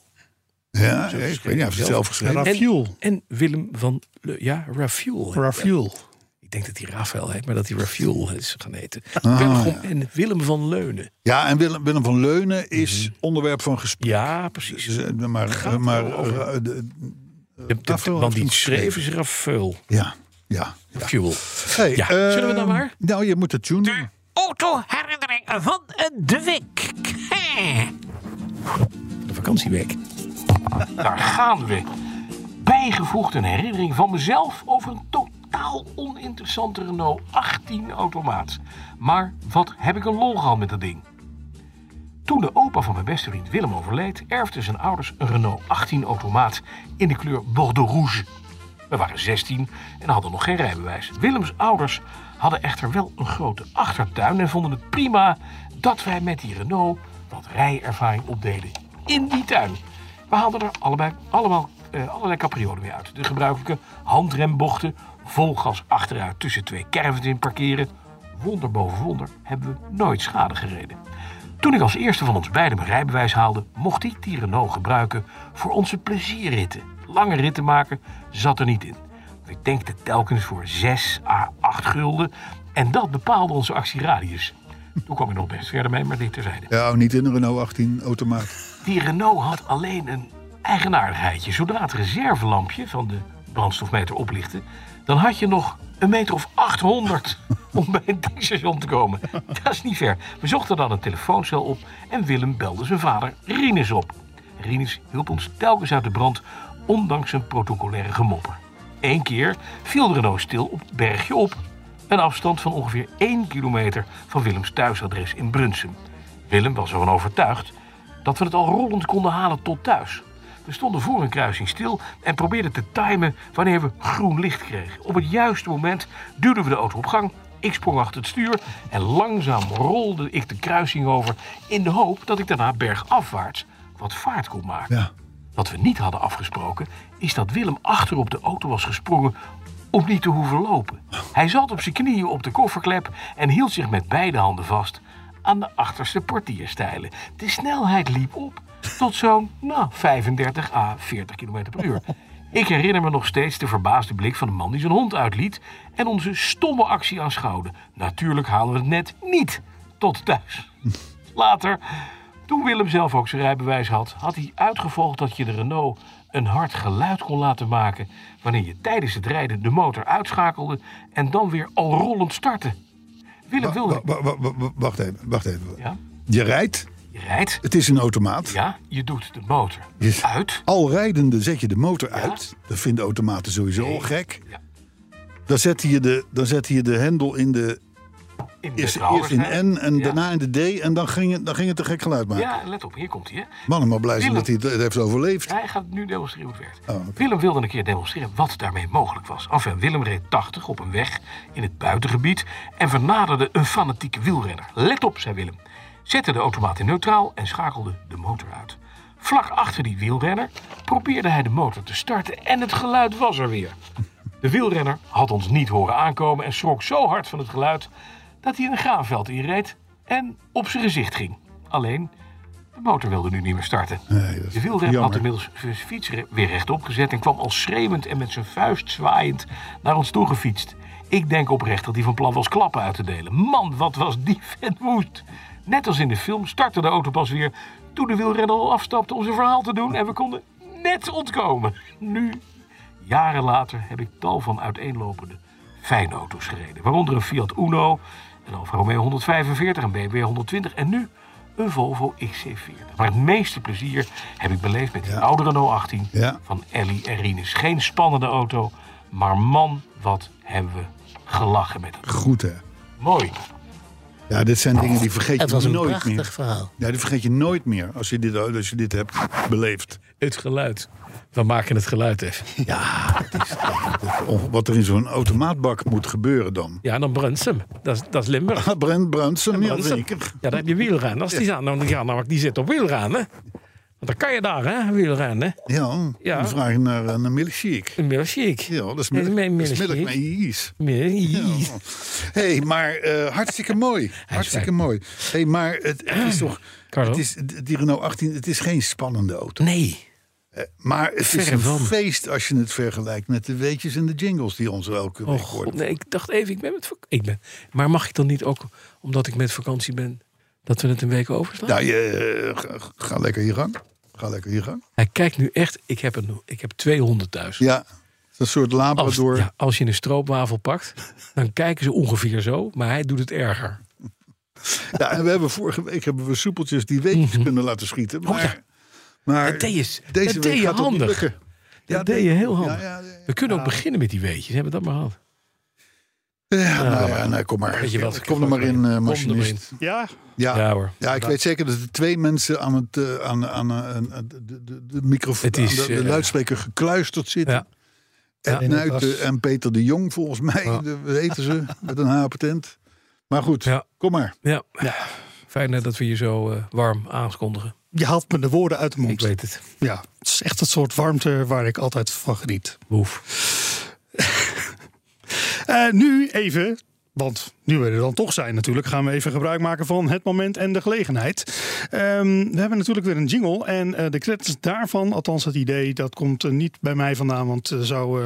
Speaker 2: ja, ik weet niet, hij heeft het zelf geschreven.
Speaker 4: Rafuel.
Speaker 3: en Willem van... Le- ja, Rafuel. hè.
Speaker 4: Rafuel.
Speaker 3: Ik denk dat hij Rafael heet, maar dat hij Rafuel is gaan heten.
Speaker 2: Ah,
Speaker 3: Pellegrom en Willem van Leunen.
Speaker 2: Ja, en Willem, Willem van Leunen is onderwerp van gesprek.
Speaker 3: Ja, precies.
Speaker 2: Dus, eh, Maar,
Speaker 3: Mhm. Gaat
Speaker 2: maar
Speaker 3: wel over.
Speaker 2: eh, de-
Speaker 3: De- de-
Speaker 2: Rafael
Speaker 3: want
Speaker 2: heeft hem
Speaker 3: die schreef is Rafael.
Speaker 2: ja, ja.
Speaker 3: Rafuel.
Speaker 2: Hey,
Speaker 3: Ja,
Speaker 2: eh,
Speaker 3: zullen we dan maar?
Speaker 2: Nou, je moet de tune doen.
Speaker 5: Autoherinnering van eh, de week.
Speaker 3: De vakantieweek. Daar gaan we. Bijgevoegd een herinnering van mezelf over een totaal oninteressante Renault 18 automaat. Maar wat heb ik een lol gehad met dat ding. Toen de opa van mijn beste vriend Willem overleed, erfden zijn ouders een Renault 18 automaat in de kleur Bordeaux Rouge. We waren 16 en hadden nog geen rijbewijs. Willems ouders hadden echter wel een grote achtertuin en vonden het prima dat wij met die Renault wat rijervaring opdeden in die tuin. We haalden er allebei, allemaal eh, allerlei capriolen mee uit. De gebruikelijke handrembochten, vol gas achteruit tussen twee caravans in parkeren. Wonder boven wonder hebben we nooit schade gereden. Toen ik als eerste van ons beiden mijn rijbewijs haalde, mocht ik die Renault gebruiken voor onze plezierritten. Lange ritten maken zat er niet in. We tankten telkens voor 6 à 8 gulden en dat bepaalde onze actieradius. Toen kwam ik nog best verder mee, maar dit terzijde.
Speaker 2: Ja, oh, niet in een Renault 18 automaat.
Speaker 3: Die Renault had alleen een eigenaardigheidje. Zodra het reservelampje van de brandstofmeter oplichtte, dan had je nog een meter of 800 om bij het tankstation te komen. Dat is niet ver. We zochten dan een telefooncel op en Willem belde zijn vader Rinus op. Rinus hielp ons telkens uit de brand, ondanks zijn protocolaire gemopper. Eén keer viel de Renault stil op het bergje op. Een afstand van ongeveer 1 kilometer van Willems thuisadres in Brunsum. Willem was ervan overtuigd dat we het al rollend konden halen tot thuis. We stonden voor een kruising stil en probeerden te timen wanneer we groen licht kregen. Op het juiste moment duwden we de auto op gang Ik sprong achter het stuur en langzaam rolde ik de kruising over... in de hoop dat ik daarna bergafwaarts wat vaart kon maken.
Speaker 2: Ja.
Speaker 3: Wat we niet hadden afgesproken, is dat Willem achterop de auto was gesprongen om niet te hoeven lopen. Hij zat op zijn knieën op de kofferklep en hield zich met beide handen vast aan de achterste portierstijlen. De snelheid liep op tot zo'n nou, 35 à 40 km per uur. Ik herinner me nog steeds de verbaasde blik van de man die zijn hond uitliet en onze stomme actie aanschouwde. Natuurlijk halen we het net niet tot thuis. Later, toen Willem zelf ook zijn rijbewijs had, had hij uitgevolgd dat je de Renault een hard geluid kon laten maken wanneer je tijdens het rijden de motor uitschakelde en dan weer al rollend startte. Willem
Speaker 2: Wa-
Speaker 3: wilde.
Speaker 2: wa- wa- wa- wa- Wacht even, wacht even.
Speaker 3: Oh. Ja,
Speaker 2: Je rijdt,
Speaker 3: je rijdt.
Speaker 2: het is een automaat.
Speaker 3: Ja, je doet de motor
Speaker 2: Yes.
Speaker 3: uit.
Speaker 2: Al rijdende zet je de motor uit. Dat vinden automaten sowieso al gek.
Speaker 3: Ja.
Speaker 2: Dan zet je de, dan zet je de hendel in de,
Speaker 3: In de
Speaker 2: eerst, eerst
Speaker 3: trouwers,
Speaker 2: in
Speaker 3: hè?
Speaker 2: N eh. en
Speaker 3: Ja.
Speaker 2: daarna in de D. En dan ging het, dan ging het een gek geluid maken.
Speaker 3: Ja, let op, hier komt hij. hè.
Speaker 2: Mannen maar blij zijn
Speaker 3: Willem.
Speaker 2: dat hij het heeft overleefd.
Speaker 3: Hij gaat nu demonstreren hoe het werkt.
Speaker 2: Oh, oké.
Speaker 3: Willem wilde een keer demonstreren wat daarmee mogelijk was. Enfin, Willem reed 80 op een weg in het buitengebied en vernaderde een fanatieke wielrenner. Let op, zei Willem. Zette de automaat in neutraal en schakelde de motor uit. Vlak achter die wielrenner probeerde hij de motor te starten en het geluid was er weer. De wielrenner had ons niet horen aankomen en schrok zo hard van het geluid dat hij een graanveld inreed en op zijn gezicht ging. Alleen, de motor wilde nu niet meer starten.
Speaker 2: dat is
Speaker 3: de wielrenner had
Speaker 2: jammer.
Speaker 3: inmiddels zijn fiets re- weer rechtop gezet en kwam al schreeuwend en met zijn vuist zwaaiend naar ons toe gefietst. Ik denk oprecht dat hij van plan was klappen uit te delen. Man, wat was die vent woest. Net als in de film startte de auto pas weer toen de wielrenner al afstapte om zijn verhaal te doen en we konden net ontkomen. Nu Jaren later heb ik tal van uiteenlopende fijne auto's gereden. Waaronder een Fiat Uno, een Alfa Romeo 145, een BMW 120 en nu een Volvo XC40. Maar het meeste plezier heb ik beleefd met die oude Renault 18
Speaker 2: Ja.
Speaker 3: van Ellie en Rinus. Geen spannende auto, maar man, wat hebben we gelachen met hem.
Speaker 2: Goed hè.
Speaker 3: Mooi.
Speaker 2: Ja, dit zijn dingen die vergeet
Speaker 6: Het was
Speaker 2: je
Speaker 6: een
Speaker 2: nooit
Speaker 6: prachtig
Speaker 2: meer.
Speaker 6: verhaal.
Speaker 2: Ja, die vergeet je nooit meer als je dit, als je dit hebt beleefd.
Speaker 3: Het geluid. We maken het geluid even.
Speaker 2: Of wat er in zo'n automaatbak moet gebeuren dan.
Speaker 3: Ja, dan Brunsum. Dat is, dat is Limburg.
Speaker 2: Ah, Brent Brunsen, ja
Speaker 3: Bransen.
Speaker 2: zeker.
Speaker 3: Ja, daar heb je wielrennen. Als die zaan, dan, ja, nou, die zit op wielrennen. Want dan kan je daar, hè, wielrennen.
Speaker 2: Ja,
Speaker 3: Ja.
Speaker 2: dan vraag je naar eh, een milkshake.
Speaker 3: Een milkshake.
Speaker 2: Ja, dat is
Speaker 3: Dat is
Speaker 2: melk,
Speaker 3: mijn
Speaker 2: dat is melk
Speaker 3: milkshake.
Speaker 2: met ijs.
Speaker 3: Milkshake.
Speaker 2: Ja. Hey, maar eh, hartstikke mooi. Hartstikke mooi. Hey, maar het, het is toch.
Speaker 3: Carlo?
Speaker 2: Het is, die Renault 18, het is geen spannende auto.
Speaker 3: Nee.
Speaker 2: Maar het is
Speaker 3: Verre
Speaker 2: een
Speaker 3: van.
Speaker 2: feest als je het vergelijkt met de weetjes en de jingles die ons elke
Speaker 3: Oh,
Speaker 2: week
Speaker 3: God,
Speaker 2: worden.
Speaker 3: nee, ik dacht even, ik ben met vak- ik ben. Maar mag ik dan niet ook, omdat ik met vakantie ben, dat we het een week overslaan?
Speaker 2: Nou, je, eh, ga, ga lekker je gang. Ga lekker je gang.
Speaker 3: Hij kijkt nu echt, ik heb, een, ik heb 200 thuis.
Speaker 2: Ja, het is een soort
Speaker 3: als,
Speaker 2: labrador.
Speaker 3: ja, als je een stroopwafel pakt, dan kijken ze ongeveer zo, maar hij doet het erger.
Speaker 2: Ja, en we hebben vorige week hebben we soepeltjes die weetjes kunnen laten schieten. Maar,
Speaker 3: Mhm. Oh, ja.
Speaker 2: maar
Speaker 3: Dat deed je,
Speaker 2: deze week
Speaker 3: dat deed je
Speaker 2: gaat dat niet
Speaker 3: handig.
Speaker 2: lukken.
Speaker 3: Ja,
Speaker 2: Ja,
Speaker 3: dat deed je heel handig.
Speaker 2: Ja, ja, ja.
Speaker 3: We kunnen ook beginnen met die weetjes, hebben we dat maar gehad.
Speaker 2: Ja, nou ja, nou, kom maar.
Speaker 3: Weet je wat?
Speaker 2: Kom er maar in, eh
Speaker 3: Kom er maar
Speaker 2: machinist.
Speaker 3: in.
Speaker 4: Ja,
Speaker 2: Ja,
Speaker 3: Ja, hoor.
Speaker 2: Ja, ik weet zeker dat er twee mensen aan, het, eh, aan, aan, eh, aan- aan de, de, de microfoon,
Speaker 3: Het is,
Speaker 2: aan de, de
Speaker 3: eh,
Speaker 2: luidspreker gekluisterd zitten.
Speaker 3: Ja.
Speaker 2: En
Speaker 3: Ja.
Speaker 2: Nuiten en Peter de Jong, volgens mij, de- weten ze, met een H-patent. Maar goed,
Speaker 3: Ja.
Speaker 2: kom maar.
Speaker 3: Ja. Fijn eh, dat we je zo eh, warm aankondigen.
Speaker 4: je haalt me de woorden uit de mond.
Speaker 3: Ik weet het.
Speaker 4: Ja, het is echt het soort warmte waar ik altijd van geniet.
Speaker 3: Hoef.
Speaker 4: Eh, nu even, want nu we er dan toch zijn natuurlijk, gaan we even gebruik maken van het moment en de gelegenheid. Ehm, we hebben natuurlijk weer een jingle en eh, de credits daarvan, althans het idee, dat komt eh, niet bij mij vandaan, want eh, zo, eh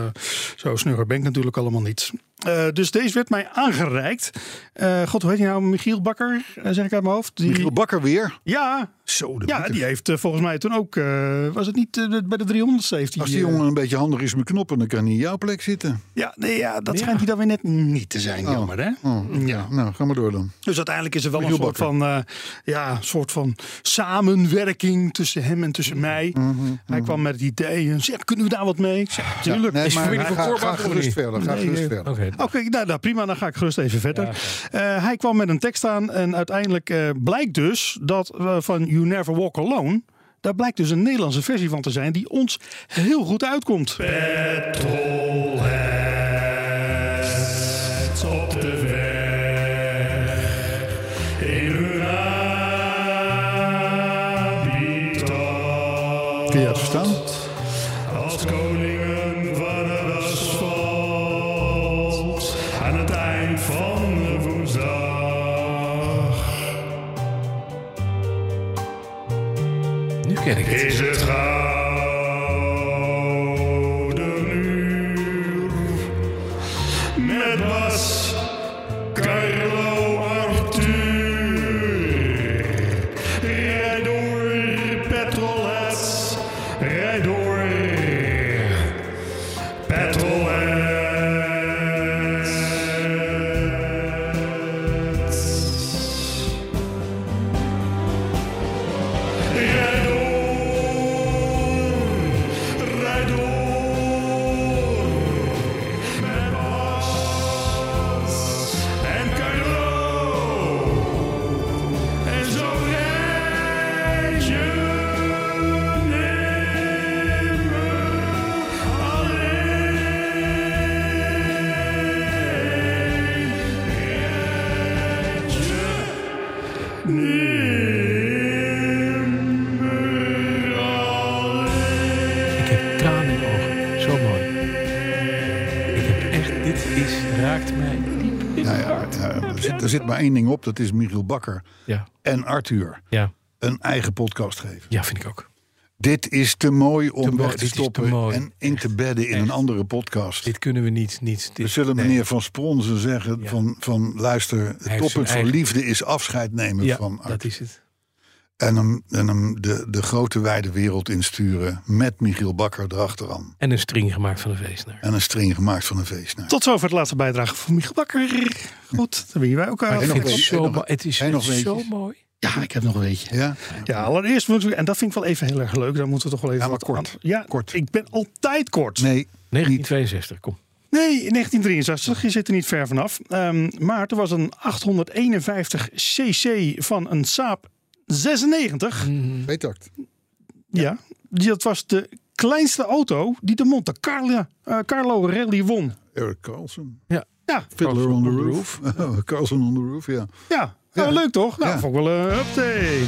Speaker 4: zo snugger ben ik natuurlijk allemaal niet. Eh, dus deze werd mij aangereikt. Eh, God, hoe heet hij nou? Michiel Bakker, eh, zeg ik uit mijn hoofd. Die,
Speaker 2: Michiel Bakker weer.
Speaker 4: Ja,
Speaker 2: Zo, de
Speaker 4: ja,
Speaker 2: Bakker.
Speaker 4: die heeft eh, volgens mij toen ook, eh, was het niet eh, bij de 300 heeft hij,
Speaker 2: Als die
Speaker 4: eh,
Speaker 2: jongen een beetje handig is met knoppen, dan kan hij in jouw plek zitten.
Speaker 4: Ja, nee, ja dat schijnt hij dan weer net niet te zijn, jammer hè? Mm,
Speaker 2: Oh,
Speaker 4: Ja.
Speaker 2: Nou, ga maar door dan.
Speaker 4: Dus uiteindelijk is er wel een
Speaker 2: Michiel
Speaker 4: soort van, eh, ja, een soort van samenwerking tussen hem en tussen mij.
Speaker 2: Mhm,
Speaker 4: Hij kwam met het idee, eh, zeg, kunnen we daar wat mee? Ik zeg, tuurlijk.
Speaker 2: Nee, maar
Speaker 3: familie van
Speaker 2: ga,
Speaker 3: Korbach
Speaker 2: ga
Speaker 3: of
Speaker 2: gerust
Speaker 3: niet?
Speaker 2: verder. Ga
Speaker 4: Nee,
Speaker 2: gerust
Speaker 4: eh,
Speaker 2: verder.
Speaker 3: Oké.
Speaker 4: Oké, nou, nou, prima, dan ga ik gerust even verder. Eh, hij kwam met een tekst aan en uiteindelijk eh, blijkt dus dat eh, van You Never Walk Alone... Daar blijkt dus een Nederlandse versie van te zijn die ons heel goed uitkomt. Petrolheads op de weg.
Speaker 3: ken ik het.
Speaker 4: Is het Gouden Uur met Bas, Carlo, Arthur. Rijd door, petrolheads, rijd door, petrolheads. Rijd door, rijd door. Met Bas en Carlo. En zo rijd je nimmer alleen. Rijd je nimmer alleen.
Speaker 3: Ik heb tranen in mijn ogen. Zo mooi. Ik heb echt, dit is, raakt mij diep in
Speaker 2: Ja,
Speaker 3: mijn
Speaker 2: ja,
Speaker 3: hart.
Speaker 2: ja, er, zit, er zit maar één ding op, dat is Michiel Bakker
Speaker 3: Ja,
Speaker 2: en Arthur
Speaker 3: ja,
Speaker 2: een eigen podcast geven.
Speaker 3: ja, vind ik ook.
Speaker 2: Dit is te mooi om
Speaker 3: mooi,
Speaker 2: weg
Speaker 3: dit
Speaker 2: te
Speaker 3: is te
Speaker 2: stoppen
Speaker 3: mooi.
Speaker 2: en in te bedden in een andere podcast.
Speaker 3: Dit kunnen we niet, niet. Dit,
Speaker 2: We zullen
Speaker 3: nee.
Speaker 2: meneer Van Spronzen zeggen
Speaker 3: Ja.
Speaker 2: van, van luister, het
Speaker 3: zijn
Speaker 2: toppunt van
Speaker 3: eigen-
Speaker 2: liefde is afscheid nemen
Speaker 3: Ja,
Speaker 2: van Arthur.
Speaker 3: dat is het.
Speaker 2: En hem, en hem de, de grote wijde wereld insturen met Michiel Bakker erachteraan.
Speaker 3: En een string gemaakt van een feestnaar.
Speaker 2: En een string gemaakt van een feestnaar.
Speaker 4: Tot zover de laatste bijdrage van Michiel Bakker. Goed, dan ben je bij elkaar.
Speaker 3: Maar ik
Speaker 2: nog
Speaker 3: vind het
Speaker 2: weetjes,
Speaker 3: zo
Speaker 2: nog-
Speaker 3: mooi. Het is
Speaker 2: en nog
Speaker 3: het is zo
Speaker 2: weetjes.
Speaker 3: mooi.
Speaker 4: Ja, ik heb nog een beetje.
Speaker 2: Ja?
Speaker 4: Ja, allereerst moeten we, en dat vind ik wel even heel erg leuk. Daar moeten we toch wel even
Speaker 2: Ja, maar
Speaker 4: wat
Speaker 2: kort.
Speaker 4: aan- Ja,
Speaker 2: Kort.
Speaker 4: Ik ben altijd kort. Nee,
Speaker 2: Nee,
Speaker 3: 1962, kom.
Speaker 4: in 1963. Je zit er niet ver vanaf. Ehm, maar er was een 851 cc van een Saab 96.
Speaker 2: Betakt.
Speaker 4: Ja. Die, dat was de kleinste auto die de Monte Carlo, eh, Carlo Rally won.
Speaker 2: Eric Carlson.
Speaker 4: Ja,
Speaker 2: Fiddler on the Roof. Oh, Carlson on the Roof, ja.
Speaker 4: ja. Nou,
Speaker 2: Ja.
Speaker 4: leuk toch? Nou,
Speaker 2: Ja.
Speaker 4: vond ik wel een update.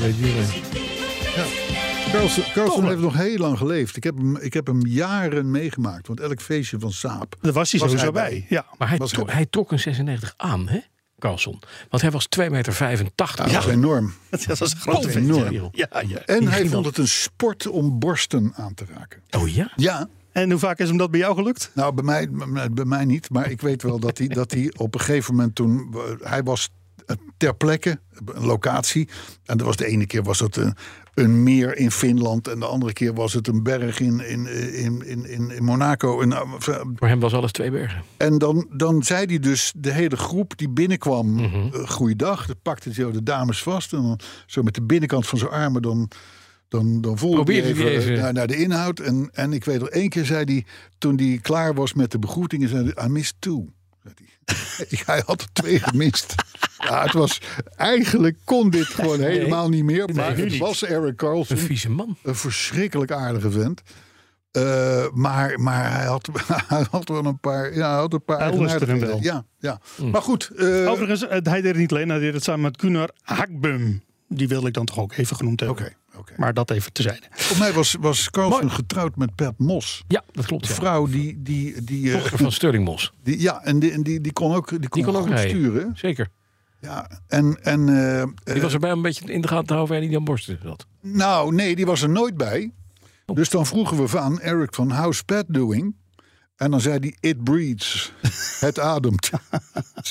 Speaker 2: Carlson, Carlson
Speaker 4: Toch
Speaker 2: heeft nog heel lang geleefd. Ik heb hem, ik heb hem jaren meegemaakt. Want elk feestje van Saap.
Speaker 4: Daar was hij
Speaker 2: Was
Speaker 4: sowieso
Speaker 2: hij
Speaker 4: bij.
Speaker 2: bij?
Speaker 4: Ja.
Speaker 3: Maar hij,
Speaker 2: Was
Speaker 3: trok-
Speaker 2: hij-
Speaker 3: hij trok een 96 aan, hè, Carlson? Want hij was 2,85 meter.
Speaker 2: Dat was enorm.
Speaker 4: Dat was een groot
Speaker 3: Boven
Speaker 4: feest,
Speaker 3: de
Speaker 4: ja.
Speaker 3: wereld.
Speaker 4: Ja, ja.
Speaker 2: En hij vond
Speaker 3: ging dan-
Speaker 2: het een sport om borsten aan te raken.
Speaker 3: Oh ja?
Speaker 2: Ja,
Speaker 4: En hoe vaak is hem dat bij jou gelukt?
Speaker 2: nou bij mij, bij mij niet. Maar ik weet wel dat hij, dat hij op een gegeven moment toen... Hij was eh, ter plekke, een locatie. En dat was de ene keer was het een, een meer in Finland. En de andere keer was het een berg in, in, in, in, in, in Monaco. En, eh,
Speaker 3: Voor hem was alles twee bergen.
Speaker 2: En dan, dan zei hij dus de hele groep die binnenkwam,
Speaker 3: Mhm.
Speaker 2: eh, goeiedag. Dan pakte hij zo de dames vast en dan zo met de binnenkant van zijn armen dan, dan, dan voelde hij
Speaker 3: Probeerde
Speaker 2: even,
Speaker 3: hij even.
Speaker 2: eh, Naar, naar de inhoud. En, en ik weet nog één keer zei hij, toen hij klaar was met de begroetingen, zei hij, I missed two. zei hij. hij had er twee gemist. Ja, het was, eigenlijk kon dit gewoon helemaal niet meer. Maar
Speaker 3: nu
Speaker 2: het
Speaker 3: niet.
Speaker 2: was Eric
Speaker 3: Een
Speaker 2: Carlson.
Speaker 3: vieze man.
Speaker 2: Een verschrikkelijk aardige vent. Eh, maar, maar hij, had, hij had wel een paar. Ja, hij had een paar.
Speaker 4: Hij lustte hem
Speaker 2: eigenaardigheden. Ja, ja. Maar goed. eh, Oké.
Speaker 4: Overigens, eh, hij deed het niet alleen. Hij deed het samen met Gunnar Hakbum. Die wilde ik dan toch ook even genoemd hebben.
Speaker 2: oké.
Speaker 4: Maar dat even terzijde.
Speaker 2: Volgens mij was, was Carlson
Speaker 3: Mooi.
Speaker 2: getrouwd met Pat Mos.
Speaker 3: Ja, dat klopt.
Speaker 2: Een
Speaker 3: Ja.
Speaker 2: vrouw die. die, die, eh,
Speaker 3: Dochter van Sterling Mos.
Speaker 2: die- ja, en die, en die, die kon ook, die kon
Speaker 3: kon ook
Speaker 2: goed
Speaker 3: rijden.
Speaker 2: sturen.
Speaker 3: Zeker.
Speaker 2: Ja. En, en, eh,
Speaker 3: Die was erbij om een beetje in de gaten te houden waar hij dan borsten zat.
Speaker 2: Nou, nee, die was er nooit bij.
Speaker 3: Oh.
Speaker 2: Dus dan vroegen we van Eric van How's Pat doing? En dan zei hij, it breeds. Het ademt.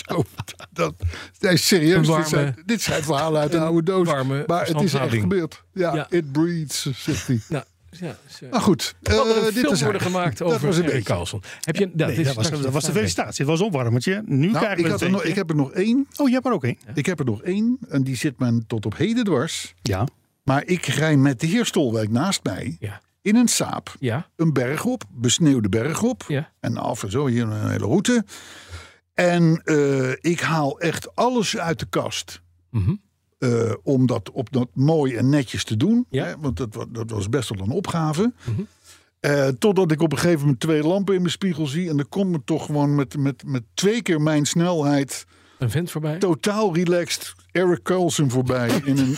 Speaker 2: Zo, dat, nee, serieus,
Speaker 3: Een
Speaker 2: dit, zijn,
Speaker 3: warme-
Speaker 2: dit zijn verhalen uit een oude doos.
Speaker 3: warme
Speaker 2: maar het is echt
Speaker 3: verstandhouding.
Speaker 2: gebeurd. Ja,
Speaker 3: Ja.
Speaker 2: it breeds, zegt hij.
Speaker 3: Nou, ja, ze-
Speaker 2: Maar goed,
Speaker 3: Er kan
Speaker 2: eh,
Speaker 3: er een
Speaker 2: dit
Speaker 3: film
Speaker 2: is hij.
Speaker 3: worden gemaakt
Speaker 2: Dat
Speaker 3: over
Speaker 2: was een
Speaker 3: Erik
Speaker 2: beetje.
Speaker 3: Carlson. Heb je, dat,
Speaker 4: Nee,
Speaker 3: is
Speaker 4: dat, was,
Speaker 3: straks
Speaker 4: dat was de
Speaker 3: vraag.
Speaker 4: felicitatie. Het was een opwarmertje. Nu
Speaker 2: Nou,
Speaker 4: krijgen
Speaker 2: ik,
Speaker 4: we
Speaker 2: had
Speaker 4: het
Speaker 2: er nog, ik heb er nog één.
Speaker 4: Oh, je hebt er ook één?
Speaker 2: Ik heb er nog één. En die zit mij tot op heden dwars.
Speaker 4: Ja.
Speaker 2: Maar ik rij met de heer Stolwijk naast mij
Speaker 3: Ja.
Speaker 2: in een saap.
Speaker 3: Ja,
Speaker 2: een berg op, besneeuwde berg op.
Speaker 3: Ja.
Speaker 2: En af en zo, hier een hele route. En eh, ik haal echt alles uit de kast.
Speaker 3: Mhm.
Speaker 2: eh, om dat op dat mooi en netjes te doen.
Speaker 3: Ja.
Speaker 2: Hè, want dat, wa- dat was best wel een opgave. Eh, totdat ik op een gegeven moment twee lampen in mijn spiegel zie. En dan komt me toch gewoon met, met, met twee keer mijn snelheid.
Speaker 3: een vent voorbij.
Speaker 2: Totaal relaxed. Eric Carlson voorbij. In een,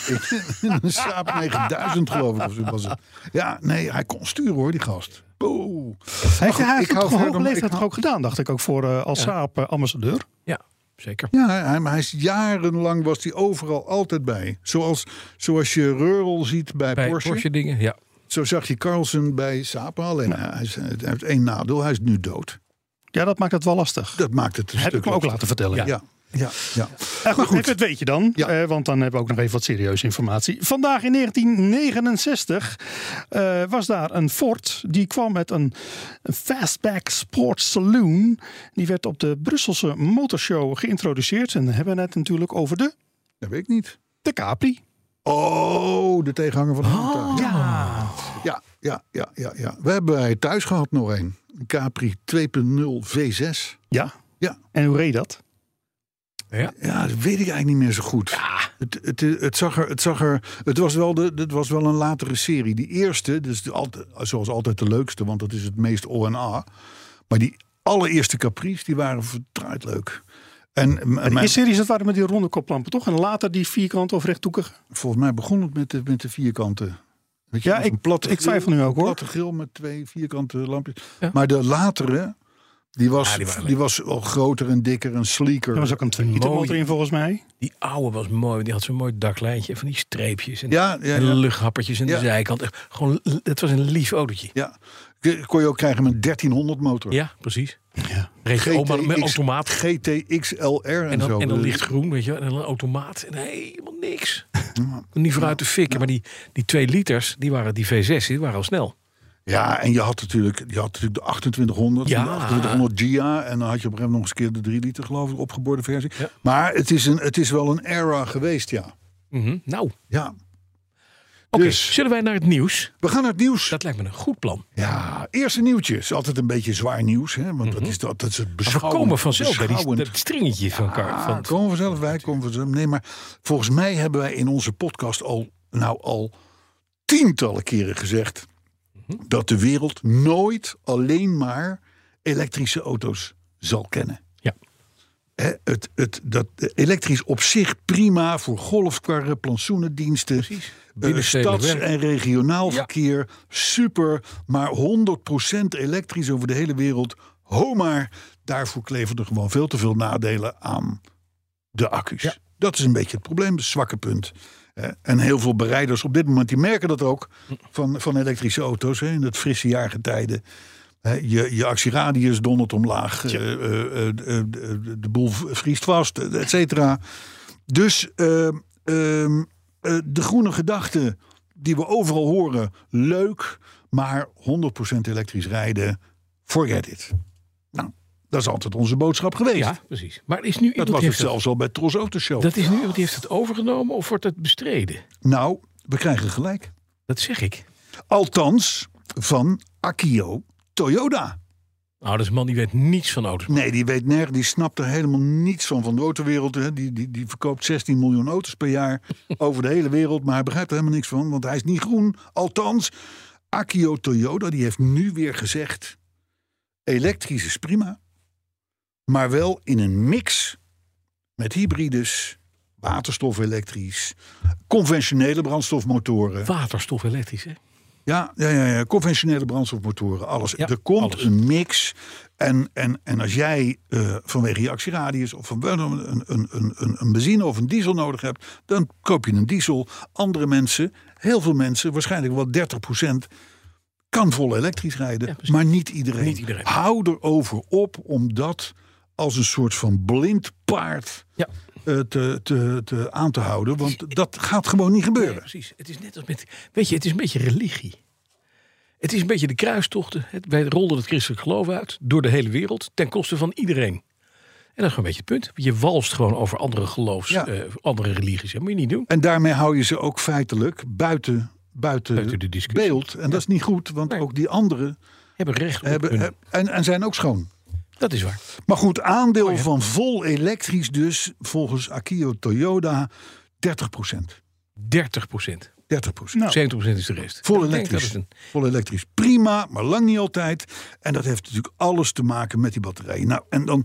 Speaker 2: in, een Saab 9000 geloof ik. Of zo was het. Ja, nee, hij kon sturen hoor, die gast. Boe.
Speaker 4: Hij heeft
Speaker 2: goed,
Speaker 4: hij
Speaker 2: ik
Speaker 4: heeft het
Speaker 2: hou
Speaker 4: toch op
Speaker 2: van-
Speaker 4: hoge
Speaker 2: ik
Speaker 4: leeftijd
Speaker 2: hou-
Speaker 4: ook gedaan, dacht ik ook, voor eh, als Saab eh, ambassadeur.
Speaker 3: Ja, zeker.
Speaker 2: Ja, hij- hij, maar hij is jarenlang was hij overal altijd bij. Zoals, zoals je Reurl ziet bij,
Speaker 3: Bij
Speaker 2: Porsche.
Speaker 3: Porsche dingen, ja.
Speaker 2: Zo zag je Carlsen bij Sapa. Alleen hij, is- hij heeft één nadeel. Hij is nu dood.
Speaker 4: Ja, dat maakt het wel lastig.
Speaker 2: Dat maakt het een
Speaker 4: Heb
Speaker 2: stuk
Speaker 4: ik me ook
Speaker 2: lastiger.
Speaker 4: laten vertellen.
Speaker 3: Ja.
Speaker 2: Ja, ja, ja.
Speaker 4: Eh, goed,
Speaker 2: goed.
Speaker 4: Dat weet je dan,
Speaker 2: Ja.
Speaker 4: eh, want dan hebben we ook nog even wat serieuze informatie. Vandaag in 1969 eh, was daar een Ford die kwam met een, een Fastback Sports Saloon. Die werd op de Brusselse Motorshow geïntroduceerd. En dan hebben we het natuurlijk over de,
Speaker 2: Dat weet ik niet.
Speaker 4: de Capri.
Speaker 2: Oh, de tegenhanger van de
Speaker 4: Oh.
Speaker 2: Honda. Ja, ja, ja, ja, ja. We hebben bij thuis gehad nog een. Een Capri 2.0 V6.
Speaker 4: Ja.
Speaker 2: Ja.
Speaker 4: En hoe reed dat?
Speaker 2: Ja, dat weet ik eigenlijk niet meer zo goed. Het, het, het, zag er, het, zag er, het, was wel de, het was wel een latere serie. Die eerste, dus de, alt- zoals altijd de leukste, want dat is het meest O&A. Maar die allereerste Capri's, die waren verdraaid leuk. En m-
Speaker 4: In
Speaker 2: mijn-
Speaker 4: eerste series dat waren met die ronde koplampen, toch? En later die vierkant of rechthoekig.
Speaker 2: volgens mij begon het met de, met de vierkante. Weet
Speaker 4: Ja,
Speaker 2: als
Speaker 4: ik-
Speaker 2: een platte
Speaker 4: ik twijfel nu ook, hoor.
Speaker 2: Een platte grill met twee vierkante lampjes. Maar de latere, die was,
Speaker 3: Ja, die
Speaker 2: die,
Speaker 3: waren
Speaker 2: was al groter en dikker en sleeker.
Speaker 4: Er was ook een
Speaker 3: Mooi.
Speaker 4: tweemotor in volgens mij.
Speaker 3: Die oude was mooi, want die had zo'n mooi daklijntje van die streepjes en,
Speaker 2: Ja, ja,
Speaker 3: en
Speaker 2: ja.
Speaker 3: luchthappertjes aan de
Speaker 2: Ja.
Speaker 3: zijkant. Echt Gewoon, l- het was een lief autootje.
Speaker 2: Ja, K- kon je ook krijgen met een 1300 motor.
Speaker 3: Ja, precies.
Speaker 4: Ja.
Speaker 3: Reed je oma met automaat
Speaker 2: GTXLR en,
Speaker 3: en
Speaker 2: zo.
Speaker 3: dan, en dan
Speaker 2: Dus-
Speaker 3: lichtgroen, weet je wel, en dan een automaat en helemaal niks. Niet vooruit te fikken, maar die, die twee liters, die waren die V6, die waren al snel.
Speaker 2: Ja, en je had natuurlijk, je had natuurlijk de 2800,
Speaker 3: Ja.
Speaker 2: en de 2800 GIA. En dan had je op een gegeven moment nog eens een keer de 3 liter, geloof ik, opgeborde versie. Maar het is, een, het is wel een era geweest, ja.
Speaker 3: Mhm, Nou, oké.
Speaker 2: ja. Dus.
Speaker 3: Zullen wij naar het nieuws?
Speaker 2: We gaan naar het nieuws.
Speaker 3: Dat lijkt me een goed plan.
Speaker 2: Ja, eerste nieuwtjes. Altijd een beetje zwaar nieuws, hè? Want dat is dat, dat is het
Speaker 3: Mhm. Maar we
Speaker 2: beschouwen.
Speaker 3: komen vanzelf bij die,
Speaker 2: beschouwend.
Speaker 3: dat stringetje van Car.
Speaker 2: Ah,
Speaker 3: Van,
Speaker 2: komen vanzelf, wij komen vanzelf. Nee, maar volgens mij hebben wij in onze podcast al, nou al tientallen keren gezegd dat de wereld nooit alleen maar elektrische auto's zal kennen.
Speaker 3: Ja.
Speaker 2: Hè, het, het, dat, eh, elektrisch op zich prima voor golfkarren, plantsoenendiensten, eh,
Speaker 3: Binnenstedelijk
Speaker 2: stads-
Speaker 3: werk.
Speaker 2: en regionaal verkeer. Super, maar 100% elektrisch over de hele wereld. Ho maar, daarvoor kleven er gewoon veel te veel nadelen aan de accu's. Dat is een beetje het probleem, het zwakke punt. Eh, En heel veel bereiders op dit moment die merken dat ook
Speaker 3: Hm.
Speaker 2: van, van elektrische auto's hè, in het frisse jaargetijde. Hè, Je, je actieradius dondert omlaag, eh, eh, eh, eh, de, de boel vriest vast, eh, et cetera. Dus ehm, ehm, eh, de groene gedachte die we overal horen, leuk, maar 100% elektrisch rijden, forget it. Nou, dat is altijd onze boodschap geweest.
Speaker 3: ja, precies. Maar is nu
Speaker 2: Dat
Speaker 3: iemand
Speaker 2: was
Speaker 3: die
Speaker 2: het
Speaker 3: heeft dat,
Speaker 2: zelfs al bij Tros Autoshow.
Speaker 3: dat is nu iemand die heeft het overgenomen of wordt het bestreden?
Speaker 2: Nou, we krijgen gelijk.
Speaker 3: Dat zeg ik.
Speaker 2: Althans, van Akio Toyota.
Speaker 3: Nou, dat is een man die weet niets van auto's.
Speaker 2: Nee, die weet nergens, die snapt er helemaal niets van van de autowereld. Hè. Die, die, die verkoopt 16 miljoen auto's per jaar over de hele wereld. Maar hij begrijpt er helemaal niks van, want hij is niet groen. Althans, Akio Toyota die heeft nu weer gezegd... elektrisch is prima, maar wel in een mix met hybrides... waterstof elektrisch, conventionele brandstofmotoren...
Speaker 3: Waterstof elektrisch, hè?
Speaker 2: Ja, ja, ja, ja. conventionele brandstofmotoren, alles.
Speaker 3: Ja,
Speaker 2: er komt
Speaker 3: alles.
Speaker 2: een mix. En, en, en als jij eh, vanwege je actieradius of van, wel een, een, een, een, een benzine of een diesel nodig hebt, dan koop je een diesel. Andere mensen, heel veel mensen, waarschijnlijk wel 30%, kan vol elektrisch rijden.
Speaker 3: Ja, precies.
Speaker 2: maar niet iedereen.
Speaker 3: Niet iedereen.
Speaker 2: Hou erover op om dat als een soort van blind paard
Speaker 3: Ja.
Speaker 2: eh, te, te, te aan te houden. Want dat gaat gewoon niet
Speaker 3: Nee,
Speaker 2: gebeuren.
Speaker 3: precies. Het is net als met. Weet je, het is een beetje religie. Het is een beetje de kruistochten. Het, wij rolden het christelijk geloof uit door de hele wereld ten koste van iedereen. En dat is gewoon een beetje het punt. Je walst gewoon over andere geloofs,
Speaker 2: Ja.
Speaker 3: eh, andere religies. Dat moet je niet doen.
Speaker 2: En daarmee hou je ze ook feitelijk buiten, buiten,
Speaker 3: Buiten de discussie.
Speaker 2: beeld. En dat is niet goed, want
Speaker 3: Nee.
Speaker 2: ook die anderen
Speaker 3: Hebben recht op
Speaker 2: hebben, eh,
Speaker 3: hun-
Speaker 2: heb- en, en zijn ook schoon.
Speaker 3: Dat is waar.
Speaker 2: Maar goed, aandeel
Speaker 3: Oh
Speaker 2: van vol elektrisch dus, volgens Akio Toyota, 30 procent.
Speaker 3: 30 procent.
Speaker 2: 30 procent.
Speaker 3: 70 procent is de rest.
Speaker 2: Vol
Speaker 3: Ik denk dat
Speaker 2: elektrisch.
Speaker 3: het een-
Speaker 2: Vol elektrisch. Prima, maar lang niet altijd. En dat heeft natuurlijk alles te maken met die batterijen. Nou, en dan,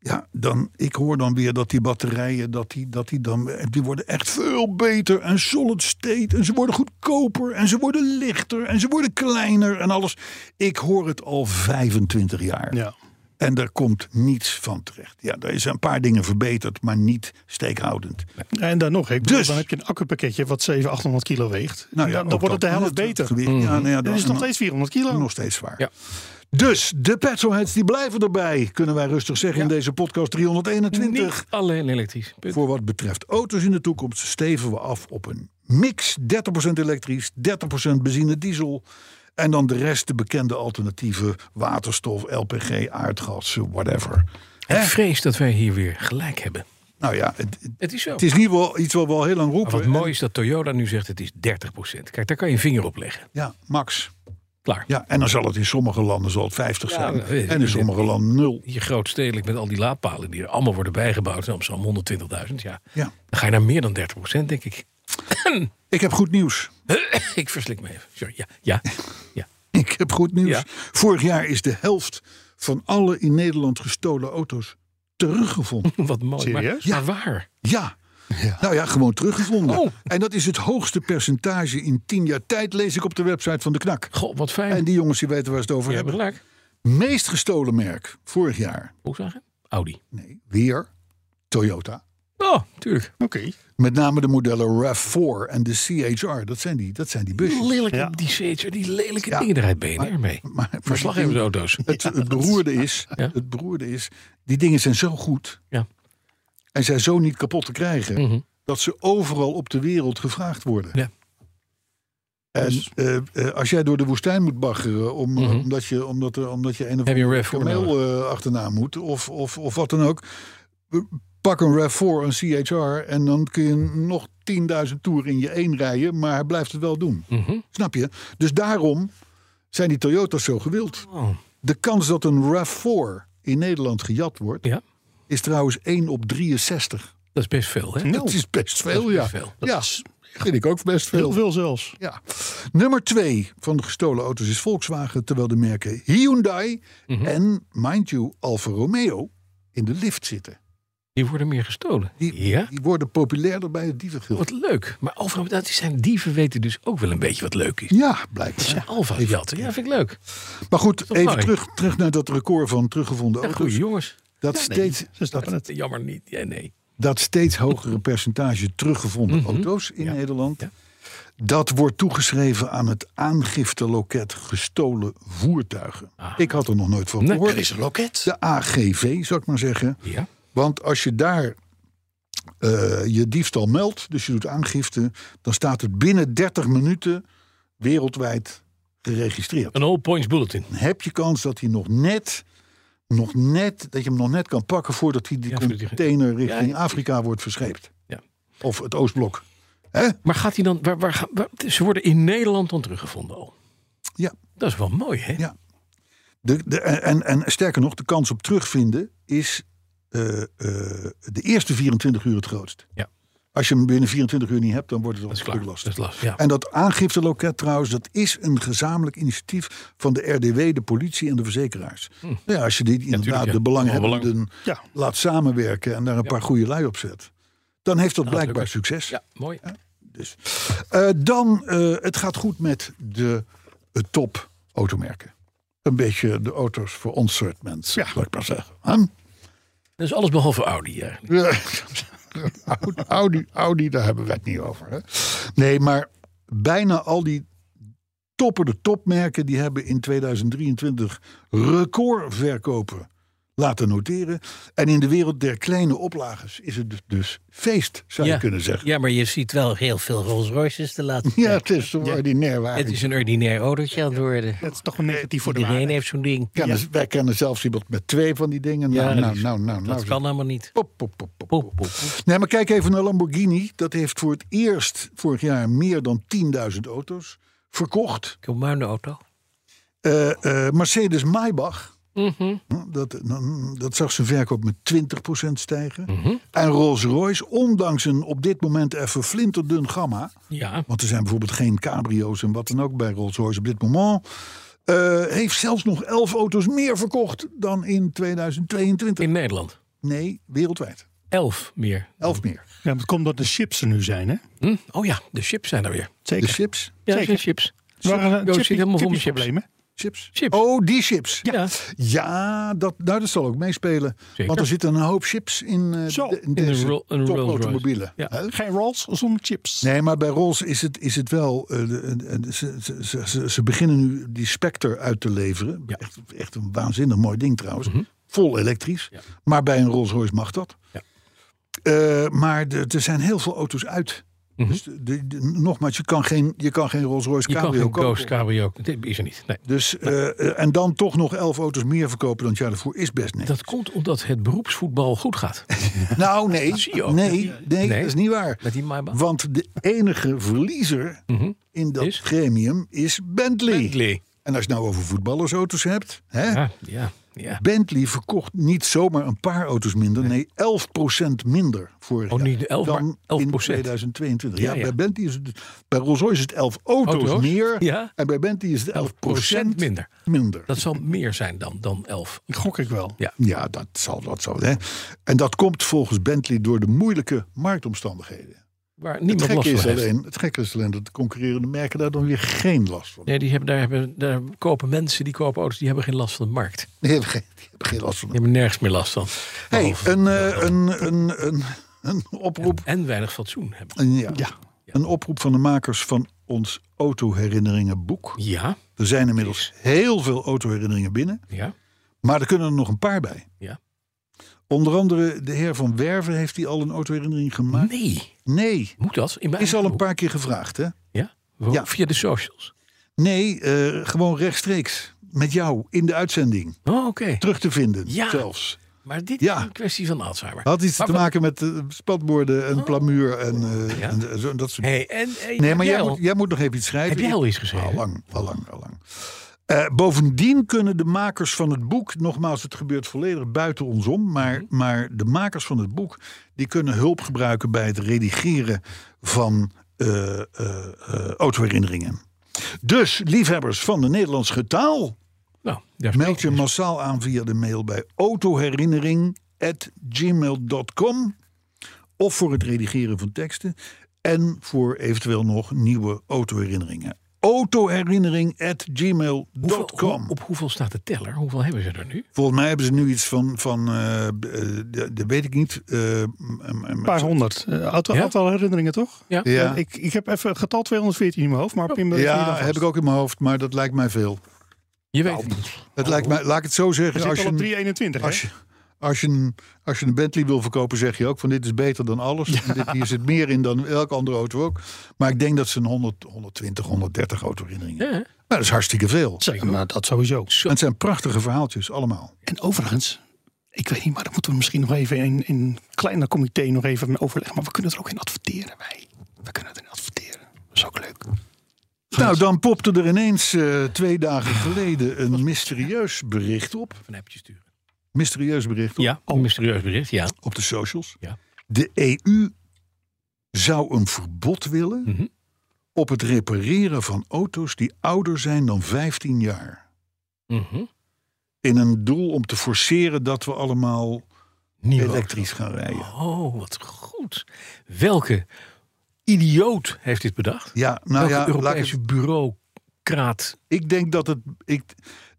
Speaker 2: ja, dan, ik hoor dan weer dat die batterijen, dat die, dat die dan, eh, die worden echt veel beter en solid state. En ze worden goedkoper en ze worden lichter en ze worden kleiner en alles. Ik hoor het al 25 jaar.
Speaker 4: Ja.
Speaker 2: En daar komt niets van terecht. Ja, er is een paar dingen verbeterd, maar niet steekhoudend.
Speaker 4: En dan nog, ik bedoel,
Speaker 2: Dus-
Speaker 4: dan heb je een accupakketje wat 700, 800 kilo weegt.
Speaker 2: Nou ja,
Speaker 4: dan, dan
Speaker 2: ook
Speaker 4: wordt het de
Speaker 2: dat-
Speaker 4: helft
Speaker 2: dat
Speaker 4: beter.
Speaker 2: gewicht, ja, nou ja,
Speaker 4: Dan
Speaker 2: dat
Speaker 4: is het nog
Speaker 2: en-
Speaker 4: steeds 400 kilo.
Speaker 2: Nog steeds zwaar.
Speaker 3: Oh. Ja.
Speaker 2: Dus de petrolheads die blijven erbij, kunnen wij rustig zeggen in deze podcast 321.
Speaker 3: Niet alleen elektrisch. Punt.
Speaker 2: Voor wat betreft auto's in de toekomst steven we af op een mix. 30% elektrisch, 30% benzine, diesel. En dan de rest de bekende alternatieven. Waterstof, LPG, aardgas, whatever.
Speaker 3: Ik vrees dat wij hier weer gelijk hebben.
Speaker 2: Nou ja, het,
Speaker 3: Het is zo.
Speaker 2: het is niet wel iets wat we al heel lang
Speaker 3: Maar
Speaker 2: roepen.
Speaker 3: wat mooi is dat Toyota nu zegt het is 30%. Kijk, daar kan je een vinger op leggen.
Speaker 2: Ja, max.
Speaker 3: Klaar.
Speaker 2: Ja, en dan zal het in sommige landen zal het 50 zijn.
Speaker 3: dat weet ik
Speaker 2: en in
Speaker 3: niet.
Speaker 2: sommige landen nul.
Speaker 3: Hier grootstedelijk met al die laadpalen die er allemaal worden bijgebouwd. In Amsterdam 120.000, ja.
Speaker 2: Ja.
Speaker 3: Dan ga je naar meer dan 30 denk ik.
Speaker 2: Ik heb goed nieuws.
Speaker 3: ik verslik me even. Sorry, ja. ja, ja.
Speaker 2: Ik heb goed nieuws.
Speaker 3: Ja.
Speaker 2: Vorig jaar is de helft van alle in Nederland gestolen auto's teruggevonden.
Speaker 3: Wat mooi.
Speaker 4: Serieus?
Speaker 3: Maar, maar waar?
Speaker 2: Ja. Nou ja, gewoon teruggevonden. En dat is het hoogste percentage in tien jaar tijd, lees ik op de website van de KNAK.
Speaker 3: Goh, wat fijn.
Speaker 2: En die jongens die weten waar ze het over
Speaker 3: Je hebt
Speaker 2: hebben.
Speaker 3: gelijk.
Speaker 2: Meest gestolen merk vorig jaar.
Speaker 3: Volkswagen? Audi.
Speaker 2: Nee, weer Toyota.
Speaker 3: Oh, tuurlijk.
Speaker 4: Oké.
Speaker 2: Met name de modellen RAV4 en de CHR. Dat zijn die, dat zijn die busjes.
Speaker 3: Lelijke,
Speaker 4: Ja.
Speaker 3: die CHR, die lelijke dingen eruit BNR mee.
Speaker 2: Maar- maar-
Speaker 3: Verslaggeversauto's.
Speaker 2: Het, het, beroerde is,
Speaker 3: Ja.
Speaker 2: het beroerde is, die dingen zijn zo goed.
Speaker 3: Ja.
Speaker 2: En zijn zo niet kapot te krijgen.
Speaker 3: Mhm.
Speaker 2: Dat ze overal op de wereld gevraagd worden.
Speaker 3: Ja. Dus-
Speaker 2: En eh, eh, als jij door de woestijn moet baggeren. Om, omdat, je, omdat, er- omdat je een of
Speaker 3: Mhm. Heb je een
Speaker 2: andere
Speaker 3: RAV4
Speaker 2: kameel eh, achterna moet. Of, of, of wat dan ook. Pak een RAV4, een CHR. En dan kun je nog 10.000 toeren in je één rijden. Maar hij blijft het wel doen.
Speaker 3: Mhm.
Speaker 2: Snap je? Dus daarom zijn die Toyota's zo gewild.
Speaker 3: Oh.
Speaker 2: De kans dat een RAV4 in Nederland gejat wordt,
Speaker 3: Ja,
Speaker 2: is trouwens 1 op 63.
Speaker 3: dat is best veel, hè?
Speaker 2: Dat is best
Speaker 3: Nou. Dat
Speaker 2: veel,
Speaker 3: is
Speaker 2: ja.
Speaker 3: best veel. Dat
Speaker 2: Ja, vind ik ook best
Speaker 4: Heel
Speaker 2: veel.
Speaker 4: veel zelfs.
Speaker 2: Ja. Nummer 2 van de gestolen auto's is Volkswagen, terwijl de merken Hyundai
Speaker 3: Mhm.
Speaker 2: en, mind you, Alfa Romeo in de lift zitten.
Speaker 3: Die worden meer gestolen.
Speaker 2: Die,
Speaker 3: ja,
Speaker 2: die worden populairder bij het dievengild.
Speaker 3: wat leuk. Maar overal, dat zijn dieven weten dus ook wel een beetje wat leuk is.
Speaker 2: Ja, blijkbaar.
Speaker 3: Ja, Alfa jatten, ja, vind ik leuk.
Speaker 2: Maar goed,
Speaker 3: toch
Speaker 2: even
Speaker 3: mooi?
Speaker 2: terug, terug naar dat record van teruggevonden
Speaker 3: Ja, goede
Speaker 2: auto's.
Speaker 3: jongens.
Speaker 2: Dat steeds,
Speaker 4: Ze snappen het.
Speaker 3: Jammer niet, ja, nee.
Speaker 2: dat steeds hogere percentage teruggevonden auto's in Nederland.
Speaker 3: Mhm. Ja.
Speaker 2: Dat wordt toegeschreven aan het aangifteloket gestolen voertuigen. Ik had er nog nooit van
Speaker 3: Ah. Nee,
Speaker 2: gehoord.
Speaker 3: er is een
Speaker 2: loket. De AGV, zou ik maar zeggen.
Speaker 3: Ja,
Speaker 2: Want als je daar eh, je diefstal meldt, dus je doet aangifte, dan staat het binnen 30 minuten wereldwijd geregistreerd.
Speaker 3: een all points bulletin.
Speaker 2: Dan heb je kans dat hij nog net, nog net, dat je hem nog net kan pakken voordat hij die
Speaker 3: Ja, voordat hij-
Speaker 2: container
Speaker 3: ja,
Speaker 2: richting
Speaker 3: precies.
Speaker 2: Afrika wordt verscheept.
Speaker 3: Ja.
Speaker 2: Of het Oostblok. Hè?
Speaker 3: Maar gaat hij dan, waar, waar, ga- waar- ze worden in Nederland dan teruggevonden al.
Speaker 2: Ja.
Speaker 3: Dat is wel mooi, hè?
Speaker 2: Ja. De, de, en, en sterker nog, de kans op terugvinden is eh, eh, de eerste 24 uur het grootst.
Speaker 3: Ja.
Speaker 2: Als je hem binnen 24 uur niet hebt, dan wordt het
Speaker 3: Dat is
Speaker 2: al
Speaker 3: klaar. Dat
Speaker 2: lastig.
Speaker 3: is lastig, ja.
Speaker 2: En dat aangifteloket trouwens, dat is een gezamenlijk initiatief van de RDW, de politie en de verzekeraars. Nou Ja, als je die inderdaad
Speaker 3: tuurlijk, Hm. ja.
Speaker 2: de belanghebbenden
Speaker 4: Ja.
Speaker 2: laat samenwerken en daar een paar goede lui op zet, dan heeft dat blijkbaar
Speaker 3: lukken.
Speaker 2: succes.
Speaker 3: Nou, Ja, mooi.
Speaker 2: Dus. Eh, dan, eh, het gaat goed met de eh, top automerken. Een beetje de auto's voor ons soort mensen, zal ik maar zeggen. Huh?
Speaker 3: Dat is alles behalve Audi eigenlijk.
Speaker 2: Ja. Audi- Audi, Audi, daar hebben we het niet over. Hè? Nee, maar bijna al die toppen de topmerken... die hebben in 2023 recordverkopen laten noteren. En in de wereld der kleine oplages is het dus- dus feest, zou je kunnen zeggen.
Speaker 6: Ja, maar je ziet wel heel veel Rolls Royces de laatste
Speaker 2: Ja,
Speaker 6: tijd.
Speaker 2: het is zo ordinair waar.
Speaker 6: Het is een ordinair autootje aan het worden.
Speaker 4: Dat is toch een negatief voor de
Speaker 6: Iedereen
Speaker 4: waarde.
Speaker 6: heeft zo'n ding.
Speaker 2: kennen, Wij kennen zelfs iemand met twee van die dingen. Nou,
Speaker 6: Ja,
Speaker 2: nou,
Speaker 6: dat is-
Speaker 2: nou, nou, nou.
Speaker 6: Dat kan allemaal niet.
Speaker 2: Pop, pop, pop, pop.
Speaker 6: Poep, poep.
Speaker 2: Nee, maar kijk even naar Lamborghini. Dat heeft voor het eerst vorig jaar meer dan 10.000 auto's verkocht.
Speaker 6: Kom maar een auto.
Speaker 2: Eh, eh, Mercedes Maybach.
Speaker 3: Mhm.
Speaker 2: Dat, mm, dat zag zijn verkoop met 20% stijgen.
Speaker 3: Mhm.
Speaker 2: En Rolls-Royce, ondanks een op dit moment even flinterdun gamma.
Speaker 3: Ja,
Speaker 2: Want er zijn bijvoorbeeld geen cabrio's en wat dan ook bij Rolls-Royce op dit moment. eh, heeft zelfs nog 11 auto's meer verkocht dan in 2022.
Speaker 3: in Nederland.
Speaker 2: Nee, wereldwijd.
Speaker 3: Elf meer.
Speaker 2: 11 meer.
Speaker 4: Ja, maar het komt dat de chips er nu zijn, hè?
Speaker 3: Hm? Oh ja, de chips zijn er weer.
Speaker 2: De
Speaker 4: Zeker.
Speaker 2: chips.
Speaker 3: Ja,
Speaker 4: Zeker.
Speaker 3: zijn chips.
Speaker 4: Waar
Speaker 3: Joost zit helemaal vol met chips.
Speaker 4: problemen.
Speaker 2: Chips?
Speaker 3: Chips.
Speaker 2: Oh, die chips.
Speaker 3: Ja.
Speaker 2: Ja, dat, nou, dat zal ook meespelen.
Speaker 3: Zeker.
Speaker 2: Want er zitten een hoop chips in, eh
Speaker 4: Zo,
Speaker 2: de- in
Speaker 4: in
Speaker 3: een
Speaker 2: deze
Speaker 3: Ro- een
Speaker 2: topautomobielen.
Speaker 3: Rolls-Royce. Ja.
Speaker 2: Hè?
Speaker 4: Geen rolls zonder chips.
Speaker 2: Nee, maar bij Rolls is het, is het wel. eh, de- de- de- ze, ze- ze, ze, ze beginnen nu die Spectre uit te leveren. Echt, echt een waanzinnig mooi ding trouwens. Vol elektrisch. Maar bij een Rolls-Royce mag dat.
Speaker 3: Mhm. Ja.
Speaker 2: Eh, maar de- er zijn heel veel auto's uit. Dus de- de- de- nogmaals, je kan geen, je kan geen Rolls-Royce
Speaker 3: Mhm. Je kan
Speaker 2: cabrio
Speaker 3: geen
Speaker 2: kopen.
Speaker 3: Ghost Cabrio. Dat is er niet. Nee.
Speaker 2: Dus, eh, eh, en dan toch nog elf auto's meer verkopen dan het jaar ervoor is best niks.
Speaker 3: Dat komt omdat het beroepsvoetbal goed gaat.
Speaker 2: Nou, nee,
Speaker 3: zie je
Speaker 2: nee,
Speaker 3: ook.
Speaker 2: nee,
Speaker 3: Nee.
Speaker 2: dat is niet waar.
Speaker 3: Met die Maybach.
Speaker 2: Want de enige verliezer in dat
Speaker 3: Is?
Speaker 2: gremium is Bentley.
Speaker 3: Bentley.
Speaker 2: En als je het nou over voetballersauto's hebt. Hè?
Speaker 3: Ja, ja, ja.
Speaker 2: Bentley verkocht niet zomaar een paar auto's minder. Nee, 11% minder vorig
Speaker 3: Oh,
Speaker 2: jaar.
Speaker 3: niet de 11,
Speaker 2: dan
Speaker 3: maar 11%.
Speaker 2: in 2022. Ja,
Speaker 3: Ja, ja.
Speaker 2: Bij, Bentley is het, dus- bij Rolls-Royce is het 11 auto's,
Speaker 3: Auto's?
Speaker 2: meer.
Speaker 3: Ja.
Speaker 2: En bij Bentley is het 11%
Speaker 3: 11% minder.
Speaker 2: minder.
Speaker 3: Dat zal meer zijn dan, dan 11.
Speaker 4: Gok ik wel.
Speaker 3: Ja.
Speaker 2: Ja, dat zal dat zo. Hè? En dat komt volgens Bentley door de moeilijke marktomstandigheden.
Speaker 3: Waar
Speaker 2: Het
Speaker 3: niemand last
Speaker 2: gekke, is
Speaker 3: van heeft.
Speaker 2: alleen, het gekke is alleen dat de concurrerende merken daar dan weer geen last van
Speaker 3: Nee, die hebben, daar, hebben, daar kopen mensen die kopen auto's, die hebben geen last van de markt.
Speaker 2: hebben. Die
Speaker 3: Die
Speaker 2: hebben geen, die hebben geen last van.
Speaker 3: hebben nergens meer last van.
Speaker 2: Hey,
Speaker 3: Behalve-
Speaker 2: een, eh, een, een, een, een oproep.
Speaker 3: En weinig fatsoen hebben.
Speaker 2: Een, ja,
Speaker 4: Ja.
Speaker 2: een oproep van de makers van ons autoherinneringenboek.
Speaker 3: Ja,
Speaker 2: Er zijn inmiddels heel veel autoherinneringen binnen,
Speaker 3: ja,
Speaker 2: maar er kunnen er nog een paar bij.
Speaker 3: ja.
Speaker 2: Onder andere de heer Van Werven heeft die al een autoherinnering gemaakt.
Speaker 3: Nee, oh.
Speaker 2: Nee,
Speaker 3: moet dat? In mijn
Speaker 2: is al
Speaker 3: eigen
Speaker 2: een paar keer gevraagd hè.
Speaker 3: boek. Ja? Waarom?
Speaker 2: Ja.
Speaker 3: Via de socials.
Speaker 2: Nee, eh, gewoon rechtstreeks. Met jou in de uitzending.
Speaker 3: Oh, oké.
Speaker 2: Terug te vinden,
Speaker 3: Ja.
Speaker 2: zelfs.
Speaker 3: Maar dit
Speaker 2: Ja. Oh.
Speaker 3: is een kwestie van Alzheimer.
Speaker 2: Had iets
Speaker 3: Maar
Speaker 2: te
Speaker 3: wat-
Speaker 2: maken met eh, spatborden en plamuur en, eh,
Speaker 3: Ja.
Speaker 2: en zo- dat soort
Speaker 3: Hey, en, en-
Speaker 2: Nee, maar jij
Speaker 3: al-
Speaker 2: moet, jij moet nog even iets schrijven.
Speaker 3: Heb jij al iets geschreven?
Speaker 2: Al lang, al lang, al lang. Eh, bovendien kunnen de makers van het boek, nogmaals, het gebeurt volledig buiten ons om, maar,
Speaker 3: Mhm.
Speaker 2: maar de makers van het boek, die kunnen hulp gebruiken bij het redigeren van eh, eh, eh, autoherinneringen. Dus, liefhebbers van de Nederlandse getaal,
Speaker 3: Nou, daar spreek
Speaker 2: meld je massaal aan via de mail bij autoherinnering.gmail.com of voor het redigeren van teksten en voor eventueel nog nieuwe autoherinneringen.
Speaker 3: hoeveel, hoe-
Speaker 2: Autoherinnering.gmail.com.
Speaker 3: op hoeveel staat de teller? Hoeveel hebben ze er nu?
Speaker 2: Volgens mij hebben ze nu iets van, van eh, eh, de- dat weet ik niet. eh, m- m- m-
Speaker 4: Een paar honderd. Eh aantal,
Speaker 3: Ja?
Speaker 4: aantal herinneringen, toch?
Speaker 3: Ja.
Speaker 2: Ja.
Speaker 4: Eh, Ik, ik heb even het getal 214 in mijn hoofd, maar
Speaker 3: Oh.
Speaker 4: Pim... dat is niet
Speaker 2: ja,
Speaker 4: aan vast.
Speaker 2: heb ik ook in mijn hoofd, maar dat lijkt mij veel.
Speaker 3: Je weet het niet.
Speaker 2: Het lijkt mij, laat ik het zo
Speaker 4: We
Speaker 2: zeggen. Als
Speaker 4: Oh, zitten
Speaker 2: je,
Speaker 4: al op
Speaker 2: een-
Speaker 4: 321, hè?
Speaker 2: als, je, als, je een, als je een Bentley wil verkopen, zeg je ook van dit is beter dan alles. En dit, hier zit meer in dan elke andere auto ook. Maar ik denk dat ze een 100, 120, 130 autoherinneringen
Speaker 3: Ja,
Speaker 2: hebben.
Speaker 3: hè?
Speaker 2: Nou, dat is hartstikke veel.
Speaker 4: Zeker, nou, dat sowieso.
Speaker 2: En het zijn prachtige verhaaltjes allemaal.
Speaker 4: En overigens, ik weet niet, maar dan moeten we misschien nog even in een kleiner comité nog even mee overleggen. Maar we kunnen er ook in adverteren, wij. We kunnen erin adverteren. Dat is ook leuk.
Speaker 2: Nou, dan popte er ineens eh, twee dagen geleden een mysterieus bericht op.
Speaker 3: Van appje sturen. Oh.
Speaker 2: Mysterieus bericht op,
Speaker 3: Ja, een mysterieus bericht. Ja.
Speaker 2: op de socials.
Speaker 3: Ja.
Speaker 2: De EU zou een verbod willen
Speaker 3: Mhm.
Speaker 2: op het repareren van auto's die ouder zijn dan 15 jaar.
Speaker 3: Mhm.
Speaker 2: in een doel om te forceren dat we allemaal
Speaker 3: Nieuwe
Speaker 2: elektrisch gaan rijden.
Speaker 3: Oh, wat goed. Welke idioot heeft dit bedacht?
Speaker 2: Ja, nou
Speaker 3: Welke
Speaker 2: ja, laat ik,
Speaker 3: Europese bureaucraat?
Speaker 2: ik denk dat het. Ik,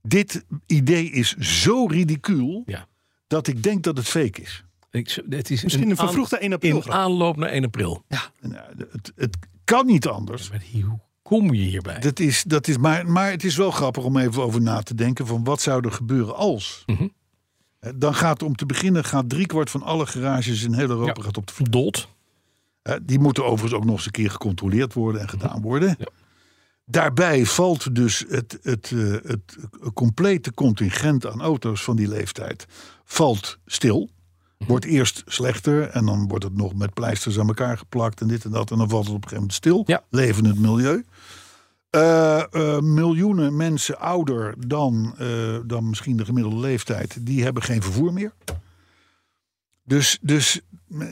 Speaker 2: dit idee is zo ridicuul
Speaker 3: Ja.
Speaker 2: dat ik denk dat het fake is.
Speaker 3: Ik, z- het is
Speaker 4: Misschien een
Speaker 3: aan-
Speaker 4: vervroegde 1 april.
Speaker 3: in
Speaker 4: grap.
Speaker 3: aanloop naar 1 april.
Speaker 2: Nou, het, het kan niet anders.
Speaker 3: Maar hier, hoe kom je hierbij?
Speaker 2: Dat is, dat is, maar, maar het is wel grappig om even over na te denken van wat zou er gebeuren als.
Speaker 3: Mhm.
Speaker 2: Eh, Dan gaat om te beginnen gaat driekwart van alle garages in heel Europa
Speaker 3: Ja.
Speaker 2: gaat op de vloer.
Speaker 3: Dood.
Speaker 2: Eh, Die moeten overigens ook nog eens een keer gecontroleerd worden en gedaan worden. Daarbij valt dus het, het, eh, het complete contingent aan auto's van die leeftijd valt stil. Wordt eerst slechter en dan wordt het nog met pleisters aan elkaar geplakt en dit en dat. En dan valt het op een gegeven moment stil.
Speaker 3: Ja.
Speaker 2: Leven het milieu. Eh, eh, miljoenen mensen ouder dan, eh, dan misschien de gemiddelde leeftijd, die hebben geen vervoer meer. Dus, dus eh,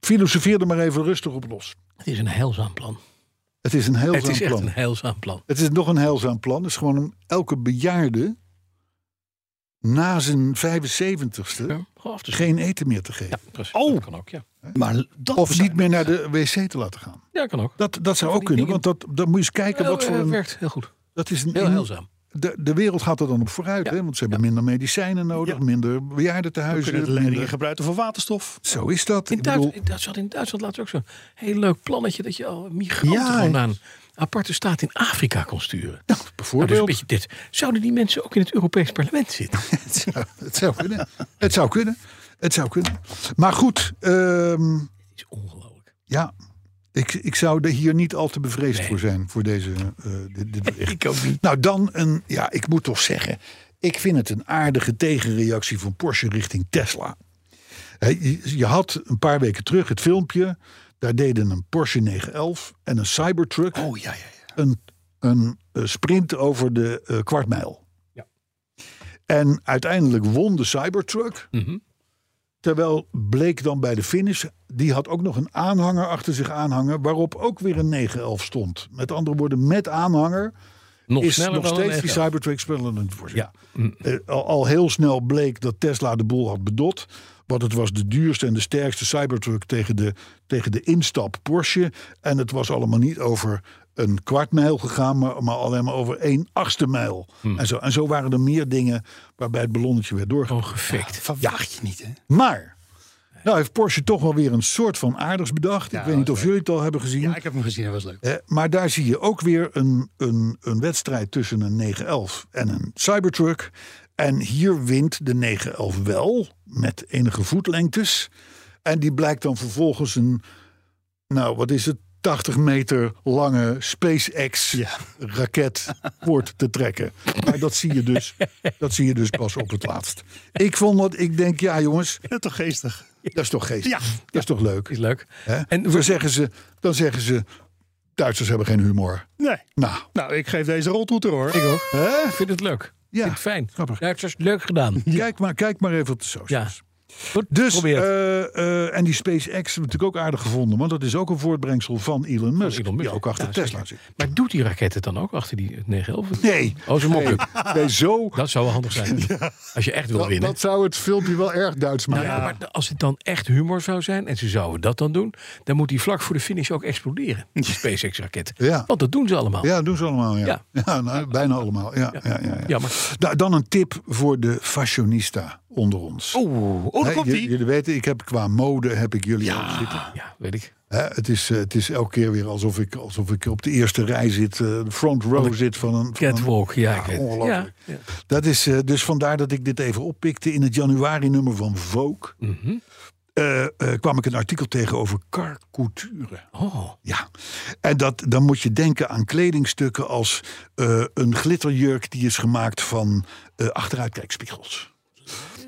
Speaker 2: filosofeer er maar even rustig op los.
Speaker 3: Het is een heilzaam plan.
Speaker 2: Het is een heel
Speaker 3: het is echt
Speaker 2: plan.
Speaker 3: een heilzaam plan.
Speaker 2: Het is nog een heilzaam plan. Het is gewoon om elke bejaarde na zijn 75ste
Speaker 3: Ja. Oh, dus-
Speaker 2: geen eten meer te
Speaker 3: ja,
Speaker 2: geven.
Speaker 3: precies.
Speaker 4: Oh.
Speaker 3: Dat kan ook, ja.
Speaker 4: Maar dat
Speaker 2: Of
Speaker 4: zijn-
Speaker 2: niet meer naar de wc te laten gaan.
Speaker 3: Ja, kan ook.
Speaker 2: Dat, dat zou
Speaker 3: van
Speaker 2: ook
Speaker 3: die
Speaker 2: kunnen, want dat, dan moet je eens kijken
Speaker 3: Heel-
Speaker 2: wat voor
Speaker 3: eh,
Speaker 2: een...
Speaker 3: werkt heel goed.
Speaker 2: Dat is een,
Speaker 3: Heel
Speaker 2: een-
Speaker 3: heilzaam.
Speaker 2: de, de wereld gaat er dan op vooruit. Hè? Want ze hebben minder medicijnen nodig,
Speaker 4: Ja.
Speaker 2: minder bejaardentehuizen.
Speaker 4: kunnen de leidingen
Speaker 2: minder-
Speaker 4: gebruiken voor waterstof.
Speaker 2: Zo is dat.
Speaker 3: In,
Speaker 2: Ik
Speaker 3: Duits-
Speaker 2: bedoel,
Speaker 3: in Duitsland, in Duitsland laat ook zo'n heel leuk plannetje dat je al migranten
Speaker 2: Ja,
Speaker 3: gewoon
Speaker 2: hè.
Speaker 3: naar een aparte staat in Afrika kon sturen.
Speaker 2: nou,
Speaker 3: Nou, dus een
Speaker 2: bijvoorbeeld.
Speaker 3: beetje dit. Zouden die mensen ook in het Europees parlement zitten?
Speaker 2: het, zou, het zou kunnen. Het zou kunnen. Het zou kunnen. Maar goed, ehm,
Speaker 3: Dat is ongelooflijk.
Speaker 2: ja. Ik, ik zou er hier niet al te bevreesd voor zijn, voor deze, eh dit, dit bericht.
Speaker 3: Ik ook niet.
Speaker 2: Nou, dan een, ja, ik moet toch zeggen, ik vind het een aardige tegenreactie van Porsche richting Tesla. Hè, Je je had een paar weken terug het filmpje, daar deden een Porsche 911 en een Cybertruck
Speaker 4: Oh ja, ja, ja.
Speaker 2: een, een eh, sprint over de eh, kwartmijl.
Speaker 3: Ja.
Speaker 2: En uiteindelijk won de Cybertruck.
Speaker 3: Mhm.
Speaker 2: Terwijl bleek dan bij de finish, die had ook nog een aanhanger achter zich aanhangen, waarop ook weer een 911 stond. Met andere woorden, met aanhanger
Speaker 3: Nog
Speaker 2: is
Speaker 3: sneller
Speaker 2: nog
Speaker 3: dan
Speaker 2: steeds
Speaker 3: een
Speaker 2: die
Speaker 3: FL.
Speaker 2: Cybertruck sneller dan het voor zich.
Speaker 3: Ja. Mm.
Speaker 2: Eh, al, al heel snel bleek dat Tesla de boel had bedot. Want het was de duurste en de sterkste Cybertruck tegen de, tegen de instap Porsche. En het was allemaal niet over een kwart mijl gegaan, maar, maar alleen maar over één achtste mijl.
Speaker 3: Mm.
Speaker 2: En, zo, en zo waren er meer dingen waarbij het ballonnetje werd doorgegaan.
Speaker 3: Gewoon gefikt.
Speaker 4: Verwacht je niet, hè?
Speaker 2: Maar, nou heeft Porsche toch wel weer een soort van aardigs bedacht. ik weet niet of jullie het al hebben gezien.
Speaker 4: Ja, ik heb hem gezien, dat was leuk.
Speaker 2: Eh, maar daar zie je ook weer een, een, een wedstrijd tussen een 911 en een Cybertruck. En hier wint de 911 wel, met enige voetlengtes. En die blijkt dan vervolgens een, nou wat is het, 80 meter lange
Speaker 4: Ja.
Speaker 2: SpaceX-raket voort te trekken. Maar dat zie, je dus, dat zie je dus pas op het laatst. Ik vond dat, ik denk, ja jongens,
Speaker 4: Ja, toch geestig.
Speaker 2: dat is toch geest.
Speaker 4: Ja.
Speaker 2: Dat is toch leuk.
Speaker 3: Is leuk.
Speaker 2: Hè?
Speaker 3: En
Speaker 2: dan, zeggen ze, dan zeggen ze, Duitsers hebben geen humor.
Speaker 4: Nee.
Speaker 2: Nou,
Speaker 4: Nou, ik geef deze roltoeter hoor.
Speaker 3: Ik ook.
Speaker 2: hè?
Speaker 3: Ik vind het leuk. Ik
Speaker 2: Ja,
Speaker 3: vind het fijn.
Speaker 2: grappig.
Speaker 3: Duitsers, leuk gedaan.
Speaker 2: Kijk, maar, kijk maar even op de socials.
Speaker 3: Ja. Goed,
Speaker 2: Dus,
Speaker 3: probeer het.
Speaker 2: eh, eh, en die SpaceX hebben we natuurlijk ook aardig gevonden. Want dat is ook een voortbrengsel van Elon Musk.
Speaker 3: Elon Musk.
Speaker 2: Die ook achter
Speaker 3: Ja,
Speaker 2: Tesla zit.
Speaker 3: Maar doet die raket het dan ook achter die 911?
Speaker 2: Nee,
Speaker 3: Oh, ze mokken.
Speaker 2: nee, zo.
Speaker 3: Dat zou wel handig zijn. Als je echt wil
Speaker 2: Dat,
Speaker 3: winnen.
Speaker 2: dat zou het filmpje wel erg Duits
Speaker 3: Nou
Speaker 2: maken.
Speaker 3: ja, maar als het dan echt humor zou zijn, en ze zouden dat dan doen, dan moet die vlak voor de finish ook exploderen. Die SpaceX-raket.
Speaker 2: Ja.
Speaker 3: Want dat doen ze allemaal.
Speaker 2: Ja, doen ze allemaal. Ja, ja.
Speaker 3: Ja.
Speaker 2: nou, bijna allemaal. Ja, ja. Ja, ja,
Speaker 3: Jammer.
Speaker 2: Da- dan een tip voor de fashionista onder ons.
Speaker 4: Oeh, oh, daar
Speaker 2: Hè,
Speaker 4: komt
Speaker 2: jullie-
Speaker 4: die.
Speaker 2: Jullie weten, ik heb qua mode heb ik jullie al zitten.
Speaker 3: Ja, weet ik.
Speaker 2: Hè, het, is, eh, het is elke keer weer alsof ik, alsof ik op de eerste rij zit, eh, de front row zit van een. Van een
Speaker 3: Catwalk, ja. ik weet het.
Speaker 2: ongelooflijk.
Speaker 3: Ja, ja.
Speaker 2: dat is eh, dus vandaar dat ik dit even oppikte. In het januari-nummer van Vogue
Speaker 3: Mhm.
Speaker 2: eh, eh, kwam ik een artikel tegen over karcouture.
Speaker 3: Oh,
Speaker 2: Ja, en dat, dan moet je denken aan kledingstukken als eh, een glitterjurk die is gemaakt van eh, achteruitkijkspiegels.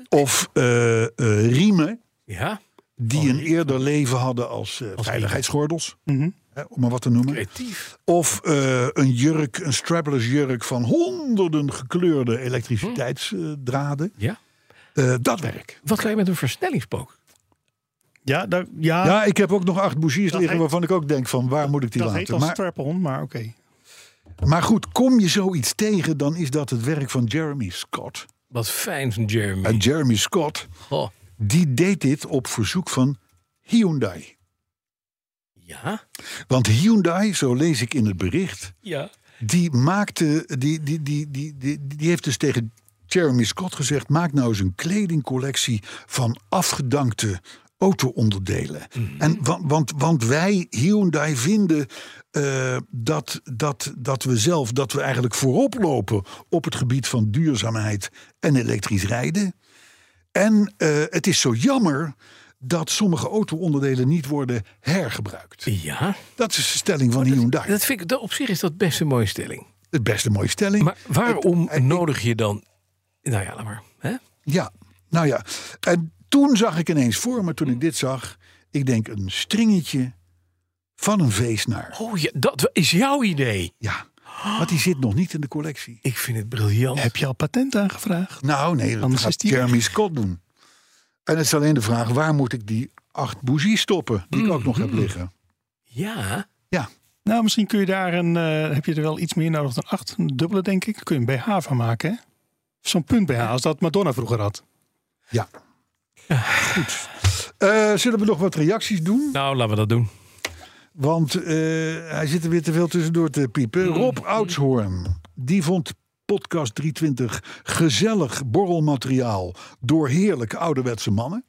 Speaker 2: Of eh, eh, riemen
Speaker 3: ja.
Speaker 2: die
Speaker 4: Oh,
Speaker 2: een eerder leven hadden als, eh, veiligheidsgordels.
Speaker 4: Mhm.
Speaker 2: Hè, om maar wat te noemen.
Speaker 3: Creatief.
Speaker 2: Of eh, een jurk, een strapless jurk van honderden gekleurde elektriciteitsdraden.
Speaker 3: Ja.
Speaker 4: Hm.
Speaker 2: Eh, dat werk.
Speaker 3: Wat kan je met een versnellingspook?
Speaker 4: Ja, daar, ja,
Speaker 2: Ja, ik heb ook nog acht bougiers
Speaker 4: Dat
Speaker 2: liggen
Speaker 4: heet-
Speaker 2: waarvan ik ook denk van waar moet ik die
Speaker 4: dat heet
Speaker 2: laten.
Speaker 4: als
Speaker 2: Maar,
Speaker 4: strap-on, maar oké.
Speaker 2: maar goed, kom je zoiets tegen, dan is dat het werk van Jeremy Scott.
Speaker 3: Wat fijn van Jeremy.
Speaker 2: En Jeremy Scott,
Speaker 3: Oh,
Speaker 2: die deed dit op verzoek van Hyundai.
Speaker 3: ja.
Speaker 2: Want Hyundai, zo lees ik in het bericht,
Speaker 3: Ja.
Speaker 2: die maakte, die, die, die, die, die, die heeft dus tegen Jeremy Scott gezegd: maak nou eens een kledingcollectie van afgedankte auto-onderdelen.
Speaker 3: Mhm.
Speaker 2: En wa- want, want wij Hyundai vinden eh, dat, dat, dat we zelf, dat we eigenlijk voorop lopen op het gebied van duurzaamheid en elektrisch rijden. En eh, het is zo jammer dat sommige auto-onderdelen niet worden hergebruikt.
Speaker 3: Ja.
Speaker 2: Dat is de stelling van Hyundai.
Speaker 3: Dat vind ik, dat op zich is dat best een mooie stelling.
Speaker 2: Het best een mooie stelling.
Speaker 3: Maar waarom
Speaker 2: het- ik-
Speaker 3: nodig je dan... Nou ja, laat maar. Hè?
Speaker 2: Ja, nou ja. En toen zag ik ineens voor me, toen ik dit zag, ik denk een stringetje van een veesnaar.
Speaker 3: Oh, ja, dat is jouw idee.
Speaker 2: Ja, want die zit nog niet in de collectie.
Speaker 3: Ik vind het briljant.
Speaker 4: Heb je al patent aangevraagd?
Speaker 2: Nou nee, dat
Speaker 4: Anders is
Speaker 2: gaat
Speaker 4: die
Speaker 2: Jeremy Scott doen. En het is alleen de vraag, waar moet ik die acht bougies stoppen, die ik ook nog heb liggen?
Speaker 3: Ja.
Speaker 2: Ja,
Speaker 4: Nou, misschien kun je daar een. eh, heb je er wel iets meer nodig dan acht? Een dubbele, denk ik. Kun je een BH van maken, hè? Zo'n punt BH, als dat Madonna vroeger had.
Speaker 2: ja. Goed. Eh, zullen we nog wat reacties doen?
Speaker 3: Nou, laten we dat doen. Mm.
Speaker 2: Want eh, hij zit er weer te veel tussendoor te piepen. Rob Oudshoorn, die vond Podcast 320. Gezellig borrelmateriaal door heerlijke ouderwetse mannen.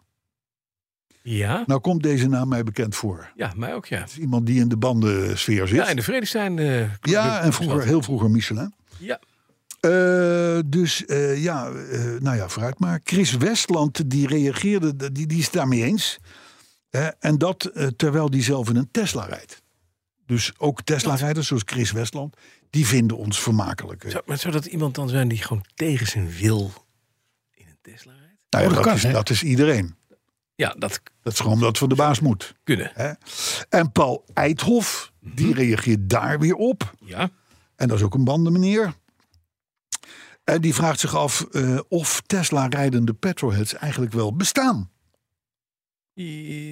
Speaker 3: Ja?
Speaker 2: Nou komt deze naam mij bekend voor. Het
Speaker 3: Ja, mij ook, ja.
Speaker 2: is iemand die in de bandensfeer zit.
Speaker 3: Ja, in de Verenigde eh
Speaker 2: Ja, en vroeger, heel vroeger Michelin.
Speaker 3: Ja.
Speaker 2: Eh, dus eh, ja, eh, nou ja, vooruit maar. Chris Westland, die reageerde, die, die is het daarmee eens. Eh, en dat eh, terwijl die zelf in een Tesla rijdt. Dus ook Tesla-rijders zoals Chris Westland, die vinden ons vermakelijk. Nou
Speaker 3: Zou, maar zou dat iemand dan zijn die gewoon tegen zijn wil in een Tesla rijdt?
Speaker 2: Nou ja,
Speaker 4: Oh, dat
Speaker 2: dat,
Speaker 4: kan,
Speaker 2: is,
Speaker 4: hè?
Speaker 2: dat is iedereen.
Speaker 3: Ja, dat k-
Speaker 2: Dat is gewoon omdat we de baas moet.
Speaker 3: kunnen.
Speaker 2: Hè? En Paul Eidhoff, die
Speaker 4: Mhm.
Speaker 2: reageert daar weer op.
Speaker 3: Ja.
Speaker 2: En dat is ook een bandenmeneer. En die vraagt zich af eh, of Tesla-rijdende petrolheads eigenlijk wel bestaan.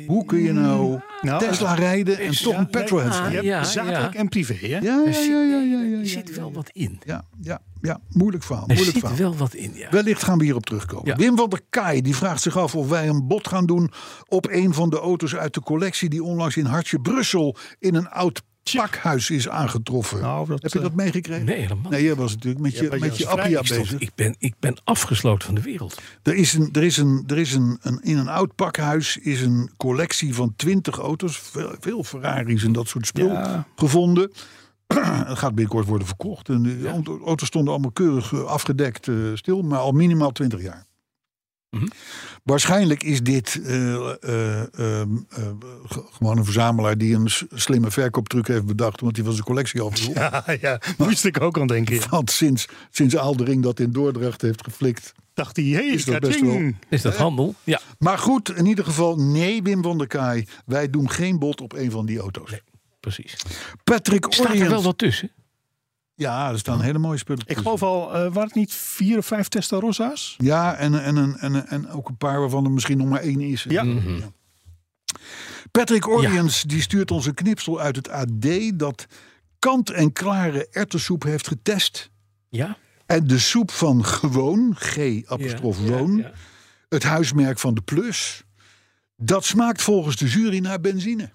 Speaker 2: Hoe kun je nou
Speaker 4: Nou,
Speaker 2: Tesla rijden en
Speaker 4: is-
Speaker 2: toch
Speaker 4: ja, Ah,
Speaker 2: een petrolhead
Speaker 3: ja,
Speaker 4: Je
Speaker 2: zijn?
Speaker 4: hebt
Speaker 3: ja.
Speaker 4: zakelijk en privé, hè?
Speaker 2: Ja, ja, ja, ja, ja, ja,
Speaker 3: Er
Speaker 2: ja,
Speaker 3: zit wel wat in.
Speaker 2: ja, ja, ja. Moeilijk verhaal,
Speaker 3: Er
Speaker 2: moeilijk
Speaker 3: zit
Speaker 2: verhaal.
Speaker 3: wel wat in, ja.
Speaker 2: Wellicht gaan we hierop terugkomen.
Speaker 3: Ja.
Speaker 2: Wim van der Kaai die vraagt zich af of wij een bod gaan doen op een van de auto's uit de collectie die onlangs in Hartje Brussel in een oud pakhuis is aangetroffen.
Speaker 4: Nou, dat,
Speaker 2: Heb je
Speaker 4: eh,
Speaker 2: dat meegekregen?
Speaker 3: Nee, helemaal
Speaker 2: Nee, jij was natuurlijk met je,
Speaker 4: was
Speaker 2: met je
Speaker 4: vrij
Speaker 2: Appia
Speaker 4: gestopt.
Speaker 2: bezig.
Speaker 3: Ik ben, ik ben afgesloten van de wereld.
Speaker 2: Er is, een, er is, een, er is een, een, in een oud pakhuis is een collectie van 20 auto's, veel, veel Ferraris en dat soort spul,
Speaker 4: Ja.
Speaker 2: gevonden. Het gaat binnenkort worden verkocht. En de auto- auto's stonden allemaal keurig eh, afgedekt eh, stil, maar al minimaal 20 jaar.
Speaker 3: Mhm.
Speaker 2: Waarschijnlijk is dit eh, eh, ehm, eh, ge- gewoon een verzamelaar die een s- slimme verkooptruc heeft bedacht, want die was zijn collectie al verkocht.
Speaker 4: Ja, ja, moest ik ook aan denken. ja.
Speaker 2: Want sinds, sinds Aaldering dat in Dordrecht heeft geflikt,
Speaker 4: Dacht hij, hey,
Speaker 2: Is
Speaker 4: is
Speaker 2: dat
Speaker 4: dat
Speaker 2: best wel-
Speaker 3: Is dat handel? Ja.
Speaker 2: Maar goed, in ieder geval, nee, Wim van der Kaai. Wij doen geen bod op een van die auto's.
Speaker 3: Precies.
Speaker 2: Patrick
Speaker 3: Staat er
Speaker 2: Orient.
Speaker 3: wel wat tussen?
Speaker 2: Ja, er staan hele mooie spullen.
Speaker 4: Ik
Speaker 2: tussen.
Speaker 4: geloof al, eh, waren het niet vier of vijf Testarossas?
Speaker 2: Ja, en, en, en, en, en ook een paar waarvan er misschien nog maar één is.
Speaker 4: Ja.
Speaker 2: Patrick Orient die stuurt ons een knipsel uit het AD dat kant-en-klare erwtensoep heeft getest.
Speaker 3: Ja.
Speaker 2: En de soep van gewoon, G-apostrof
Speaker 3: Ja,
Speaker 2: woon,
Speaker 3: ja.
Speaker 2: het huismerk van de Plus, dat smaakt volgens de jury naar benzine.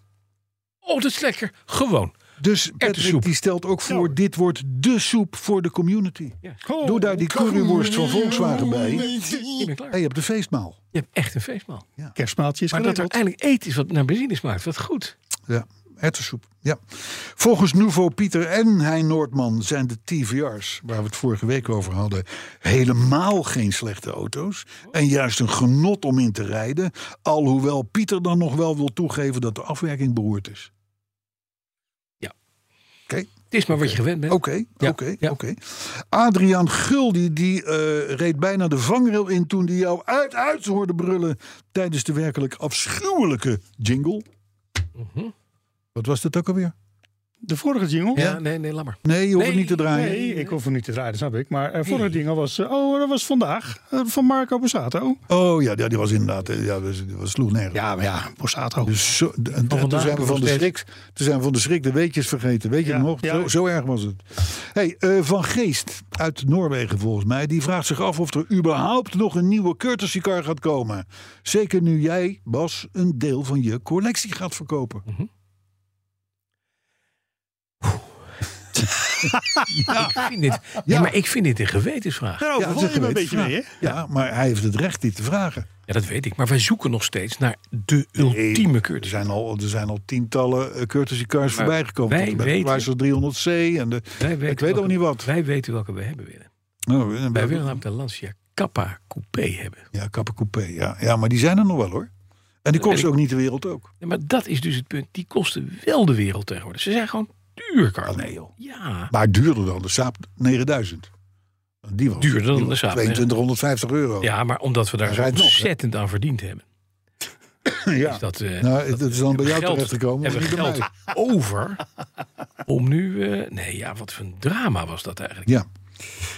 Speaker 3: Oh, dat is lekker. Gewoon.
Speaker 2: Dus Patrick
Speaker 3: Erwtensoep.
Speaker 2: die stelt ook voor, dit wordt de soep voor de community. Doe daar die curryworst van Volkswagen bij.
Speaker 3: Ik ben klaar.
Speaker 2: En je hebt de feestmaal.
Speaker 3: Je hebt echt een feestmaal.
Speaker 4: Kerstmaaltjes
Speaker 3: Maar dat er eindelijk eten is wat naar benzine smaakt. Wat goed.
Speaker 2: Ja, hertensoep. Ja. Volgens Nouveau Pieter en Hein Noordman zijn de TVR's, waar we het vorige week over hadden, helemaal geen slechte auto's. En juist een genot om in te rijden. Alhoewel Pieter dan nog wel wil toegeven dat de afwerking beroerd is.
Speaker 3: Het is maar wat je gewend bent.
Speaker 2: Oké,
Speaker 3: Ja,
Speaker 2: oké,
Speaker 3: ja.
Speaker 2: oké. Adriaan Guldi die eh, reed bijna de vangrail in toen hij jou uit uit hoorde brullen tijdens de werkelijk afschuwelijke jingle.
Speaker 3: Mhm.
Speaker 2: Wat was dat ook alweer?
Speaker 4: De vorige jingle?
Speaker 3: Ja, nee, nee, lammer.
Speaker 2: Nee, je hoeft het
Speaker 3: Nee,
Speaker 2: niet te draaien.
Speaker 4: Nee, ik hoef hem niet te draaien, dat snap ik. Maar eh vorige jingle was, eh, oh, dat was vandaag. eh, van Marco Borsato.
Speaker 2: Oh ja, ja, die was inderdaad. eh, Ja, dat was sloeg nergens.
Speaker 4: Ja, maar ja, Borsato.
Speaker 2: Dus zo, en- en toen
Speaker 3: vandaag
Speaker 2: zijn we
Speaker 3: nog
Speaker 2: van de
Speaker 3: steeds.
Speaker 2: schrik. Toen zijn we van de schrik de weetjes vergeten. Weet je
Speaker 4: Ja,
Speaker 2: nog?
Speaker 4: ja.
Speaker 2: Zo, zo erg was het. Hey, eh, van Geest uit Noorwegen volgens mij. Die vraagt zich af of er überhaupt nog een nieuwe courtesy car gaat komen. Zeker nu jij, Bas, een deel van je collectie gaat verkopen.
Speaker 3: Oh, Ik vind dit, ja. maar ik vind dit een gewetensvraag.
Speaker 4: Daarover
Speaker 2: dat
Speaker 4: val
Speaker 2: is
Speaker 4: je me een beetje
Speaker 2: geweten
Speaker 4: mee, hè?
Speaker 2: vraag. Ja, maar hij heeft het recht dit te vragen.
Speaker 3: Ja, dat weet ik. Maar wij zoeken nog steeds naar de ultieme
Speaker 2: Er
Speaker 3: cursus.
Speaker 2: zijn al, er zijn al tientallen eh, courtesy cars
Speaker 3: Maar
Speaker 2: voorbijgekomen.
Speaker 3: wij
Speaker 2: Tot en met
Speaker 3: weten-
Speaker 2: de Chrysler 300C en de...
Speaker 3: Wij weten
Speaker 2: Ik weet
Speaker 3: welke-
Speaker 2: ook niet wat.
Speaker 3: Wij weten welke we hebben willen.
Speaker 2: Nou, en
Speaker 3: Wij willen namelijk de Lancia Kappa Coupé hebben.
Speaker 2: Ja, Kappa Coupé. Ja. ja, maar die zijn er nog wel hoor. En die
Speaker 3: weet
Speaker 2: kosten
Speaker 3: ik.
Speaker 2: ook niet de wereld ook.
Speaker 3: Ja, maar dat is dus het punt. Die kosten wel de wereld tegenwoordig. Ze zijn gewoon duur, Carlo.
Speaker 2: Ah, nee, joh.
Speaker 3: Ja.
Speaker 2: Maar duurder dan de Saab 9000. Die was
Speaker 3: Duurder dan
Speaker 2: die
Speaker 3: de
Speaker 2: was
Speaker 3: Saab, hè?
Speaker 2: 2250 euro.
Speaker 3: ja, maar omdat we daar
Speaker 2: Hij
Speaker 3: zo
Speaker 2: rijdt nog, hè?
Speaker 3: ontzettend aan verdiend hebben.
Speaker 2: Ja.
Speaker 3: Is dat, eh,
Speaker 2: Nou, dat is dan bij jou
Speaker 3: geld-
Speaker 2: terechtgekomen. maar
Speaker 3: hebben we
Speaker 2: niet bij
Speaker 3: geld
Speaker 2: mij.
Speaker 3: over om nu... eh, nee, ja, wat voor een drama was dat eigenlijk.
Speaker 2: Ja.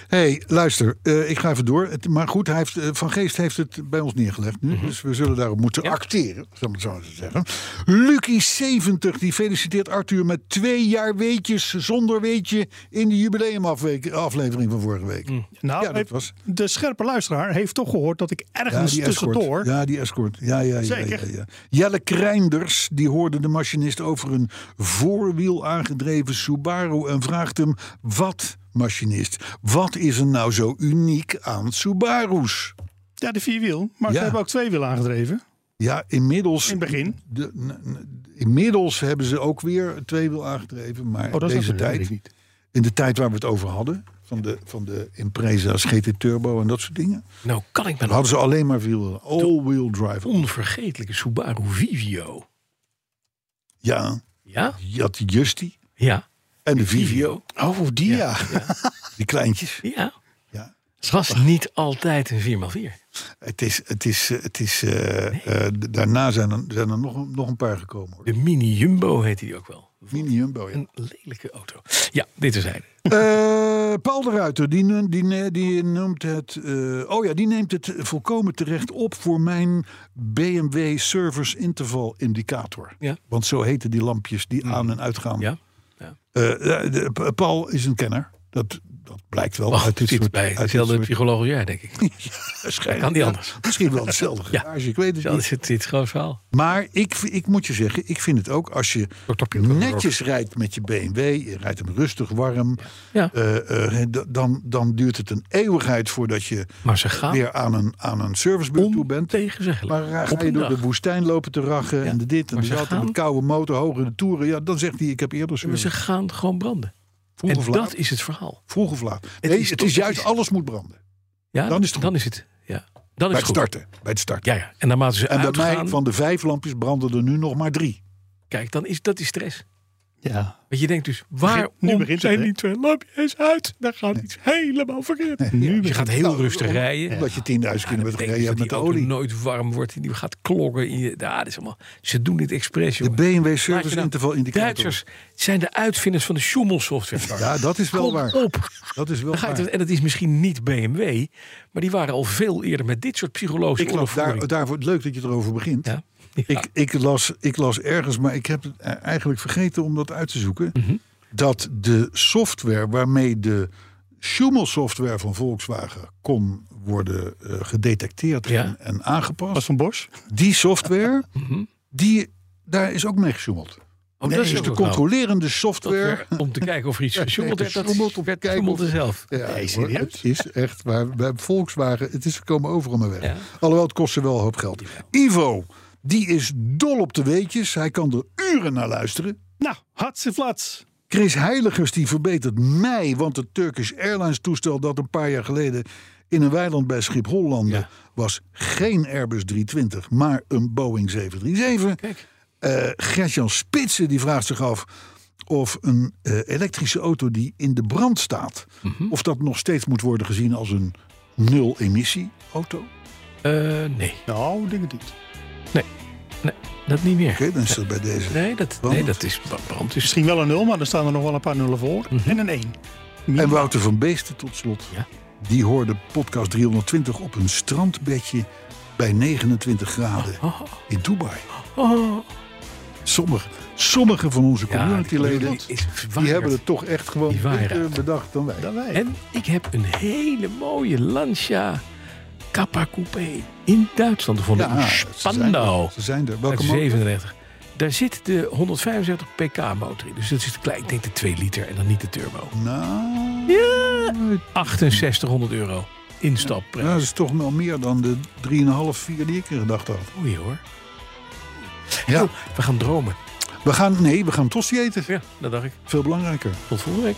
Speaker 2: hey, luister, eh, ik ga even door. Het- maar goed, hij heeft, eh, Van Geest heeft het bij ons neergelegd nu. Dus we zullen daarop moeten
Speaker 3: Mhm. Ja.
Speaker 2: acteren, zal ik het zo maar zeggen. Lucky70, die feliciteert Arthur met twee jaar weetjes zonder weetje... in de jubileumafweek- aflevering van vorige week.
Speaker 3: Mm.
Speaker 4: Nou,
Speaker 2: Ja, dat was-
Speaker 4: de scherpe luisteraar heeft toch gehoord dat ik
Speaker 2: Ja,
Speaker 4: ergens
Speaker 2: die
Speaker 4: tussendoor...
Speaker 2: escort. Ja, die escort. Ja, ja, ja,
Speaker 4: Zeker.
Speaker 2: Ja, ja. Jelle Krijnders, die hoorde de machinist over een voorwiel aangedreven Subaru en vraagt hem: Wat machinist. Wat is er nou zo uniek aan Subaru's?
Speaker 4: Ja, de vierwiel. Maar
Speaker 2: Ja.
Speaker 4: ze hebben ook twee wielen aangedreven.
Speaker 2: Ja, inmiddels,
Speaker 4: In het begin.
Speaker 2: de, n- n- inmiddels hebben ze ook weer twee wiel aangedreven. Maar
Speaker 4: Oh, dat is
Speaker 2: deze
Speaker 4: natuurlijk
Speaker 2: tijd,
Speaker 4: niet.
Speaker 2: in de tijd waar we het over hadden, van de, van de Impreza's GT Turbo en dat soort dingen,
Speaker 3: Nou kan ik me
Speaker 2: dan
Speaker 3: nog
Speaker 2: hadden ze alleen maar wiel, all-wheel drive.
Speaker 3: onvergetelijke Subaru Vivio.
Speaker 2: Ja,
Speaker 3: Ja?
Speaker 2: je had de Justy
Speaker 3: Ja.
Speaker 2: en de Vivio,
Speaker 4: Oh, die ja.
Speaker 2: die kleintjes.
Speaker 3: Ja.
Speaker 2: Ja.
Speaker 3: Het was niet altijd een 4x4.
Speaker 2: Het is, het is, eh, het is, eh, eh, d- daarna zijn er, zijn er nog, nog een paar gekomen. Hoor.
Speaker 3: De Mini Jumbo heette die ook wel.
Speaker 2: Mini Jumbo, ja.
Speaker 3: Een lelijke auto. Ja, dit is hij.
Speaker 2: Eh, Paul de Ruiter, die, nu- die, ne- die noemt het. eh, oh ja, die neemt het volkomen terecht op voor mijn BMW Service Interval Indicator.
Speaker 3: Ja. Hmm.
Speaker 2: Want zo heten die lampjes die aan en uitgaan.
Speaker 3: Ja.
Speaker 2: Eh, eh, de- P- Paul is een kenner. Dat, dat blijkt wel
Speaker 3: Oh,
Speaker 2: uit dit
Speaker 3: zit
Speaker 2: soort.
Speaker 3: bij
Speaker 2: uit dit
Speaker 3: hetzelfde
Speaker 2: soort-
Speaker 3: psycholoog als jij, denk ik.
Speaker 2: waarschijnlijk,
Speaker 3: kan niet
Speaker 2: ja.
Speaker 3: anders.
Speaker 2: Misschien wel hetzelfde
Speaker 3: Ja.
Speaker 2: garage, ik weet het
Speaker 3: Dat
Speaker 2: niet.
Speaker 3: is het, dit is gewoon verhaal.
Speaker 2: Maar ik, ik moet je zeggen, ik vind het ook als je netjes rijdt met je BMW, je rijdt hem rustig warm,
Speaker 3: Ja.
Speaker 2: eh, eh, d- dan, dan duurt het een eeuwigheid voordat je
Speaker 3: Maar ze gaan
Speaker 2: weer aan een, aan een servicebeurt toe bent.
Speaker 3: tegen zeggen.
Speaker 2: Maar eh,
Speaker 3: Op
Speaker 2: ga je
Speaker 3: een
Speaker 2: door de
Speaker 3: dag.
Speaker 2: woestijn lopen te rachen en de dit en
Speaker 3: Maar
Speaker 2: de
Speaker 3: ze
Speaker 2: dat en de
Speaker 3: gaan-
Speaker 2: koude motor, hogere toeren, ja, dan zegt hij ik heb eerder
Speaker 3: Maar
Speaker 2: service.
Speaker 3: ze gaan gewoon branden.
Speaker 2: Vroeg
Speaker 3: en
Speaker 2: of laat.
Speaker 3: dat is het verhaal.
Speaker 2: Vroeg of laat. Nee, het
Speaker 3: is
Speaker 2: is,
Speaker 3: toch-
Speaker 2: juist
Speaker 3: het is-
Speaker 2: alles moet branden.
Speaker 3: Ja,
Speaker 2: Dan is het goed.
Speaker 3: Dan is het. Ja. Dan is
Speaker 2: bij
Speaker 3: het
Speaker 2: het
Speaker 3: goed.
Speaker 2: starten. Bij het starten.
Speaker 3: Ja, ja. En naarmate ze
Speaker 2: En bij
Speaker 3: uitgaan,
Speaker 2: mij van de vijf lampjes branden er nu nog maar drie.
Speaker 3: kijk, dan is dat is stress.
Speaker 4: ja.
Speaker 3: Want je denkt dus, waarom
Speaker 4: nu begint het,
Speaker 3: zijn
Speaker 4: hè?
Speaker 3: die twee lampjes uit? Daar gaat iets helemaal verkeerd.
Speaker 4: Nu
Speaker 3: Je
Speaker 4: begint
Speaker 3: gaat heel rustig rijden. Ja.
Speaker 2: Nou, Omdat je 10.000 kilometer
Speaker 3: betekent
Speaker 2: gereden
Speaker 3: dat
Speaker 2: hebt met
Speaker 3: die
Speaker 2: de
Speaker 3: auto
Speaker 2: olie.
Speaker 3: nooit warm wordt. en Die gaat klokken. In je, ja, dat is allemaal, ze doen dit expres,
Speaker 2: De
Speaker 3: jongen.
Speaker 2: BMW
Speaker 3: Laat je
Speaker 2: Service
Speaker 3: nou-
Speaker 2: Interval Indicator.
Speaker 3: Duitsers zijn de uitvinders van de Schommel software.
Speaker 2: Ja, dat is wel
Speaker 3: Kom
Speaker 2: waar.
Speaker 3: op.
Speaker 2: Dat is wel
Speaker 3: Dan ga je
Speaker 2: waar.
Speaker 3: het- en dat is misschien niet BMW, maar die waren al veel eerder met dit soort psychologische
Speaker 2: Ik las daar,
Speaker 3: oorlogvoering.
Speaker 2: daarvoor, leuk dat je erover begint.
Speaker 3: Ja. Ja.
Speaker 2: Ik, ik, las, ik las ergens, maar ik heb het eh, eigenlijk vergeten om dat uit te zoeken.
Speaker 3: Mhm.
Speaker 2: Dat de software waarmee de Schumel-software van Volkswagen kon worden eh, gedetecteerd
Speaker 3: Ja. Mhm.
Speaker 2: en, en aangepast.
Speaker 4: Was van Bosch.
Speaker 2: Die software, die, daar is ook mee gesjoemeld.
Speaker 3: Oh,
Speaker 2: dat is
Speaker 3: ook
Speaker 2: dus de
Speaker 3: nog nou.
Speaker 2: controlerende software.
Speaker 3: om te kijken of er iets gesjoemeld werd. Dat
Speaker 2: gesjoemeld om te
Speaker 3: werd
Speaker 2: kijken
Speaker 3: gesjoemeld
Speaker 2: of-
Speaker 3: zelf.
Speaker 2: Ja,
Speaker 4: Nee,
Speaker 2: hoor,
Speaker 4: serieus?
Speaker 2: het is echt waar. Bij Volkswagen, het is komen overal maar weg.
Speaker 3: Ja.
Speaker 2: Alhoewel, het kost ze wel een hoop geld. Ivo, die is dol op de weetjes. Hij kan er uren naar luisteren.
Speaker 4: Nou, hartstikke flats.
Speaker 2: Chris Heiligers die verbetert mij, want het Turkish Airlines toestel dat een paar jaar geleden in een weiland bij Schiphol landde, was geen Airbus 320, maar een Boeing 737. Eh Gertjan Spitsen die vraagt zich af of een eh, elektrische auto die in de brand staat,
Speaker 3: Mhm.
Speaker 2: of dat nog steeds moet worden gezien als een nul-emissie auto. Oké,
Speaker 3: Eh, nee,
Speaker 4: Nou, ik denk het niet.
Speaker 3: nee, dat niet meer.
Speaker 2: dan is dat bij deze.
Speaker 3: Nee, dat, nee, dat is brand. Is,
Speaker 4: Misschien wel een nul, maar er staan er nog wel een paar nullen voor. En een één.
Speaker 2: En Wouter van Beesten tot slot.
Speaker 3: Ja.
Speaker 2: Die hoorde podcast 320 op een strandbedje bij 29 graden
Speaker 3: Oh,
Speaker 2: in Dubai. Sommige, sommige van onze communityleden
Speaker 3: die is verwaard.
Speaker 2: die hebben het toch echt gewoon
Speaker 3: Die waren
Speaker 2: beter
Speaker 3: uit.
Speaker 2: bedacht dan wij.
Speaker 4: Dan wij.
Speaker 3: En ik heb een hele mooie Lancia Kappa Coupé in Duitsland gevonden. in
Speaker 2: ze zijn
Speaker 3: Spandau.
Speaker 2: er. Ze zijn er.
Speaker 3: Uit
Speaker 2: Welke motor?
Speaker 3: 37. Daar zit de 175 pk motor in. Dus dat is te klein. Ik denk de 2 liter en dan niet de turbo.
Speaker 2: Nou,
Speaker 3: Ja. 6800 euro instapprijs.
Speaker 2: nou, dat is toch wel meer dan de 3,5, 4 die ik in gedachten had.
Speaker 3: Oei hoor.
Speaker 2: Ja.
Speaker 3: Oh, we gaan dromen.
Speaker 2: We gaan, nee, we gaan tosti eten.
Speaker 3: Ja, dat dacht ik.
Speaker 2: Veel belangrijker.
Speaker 3: Tot volgende week.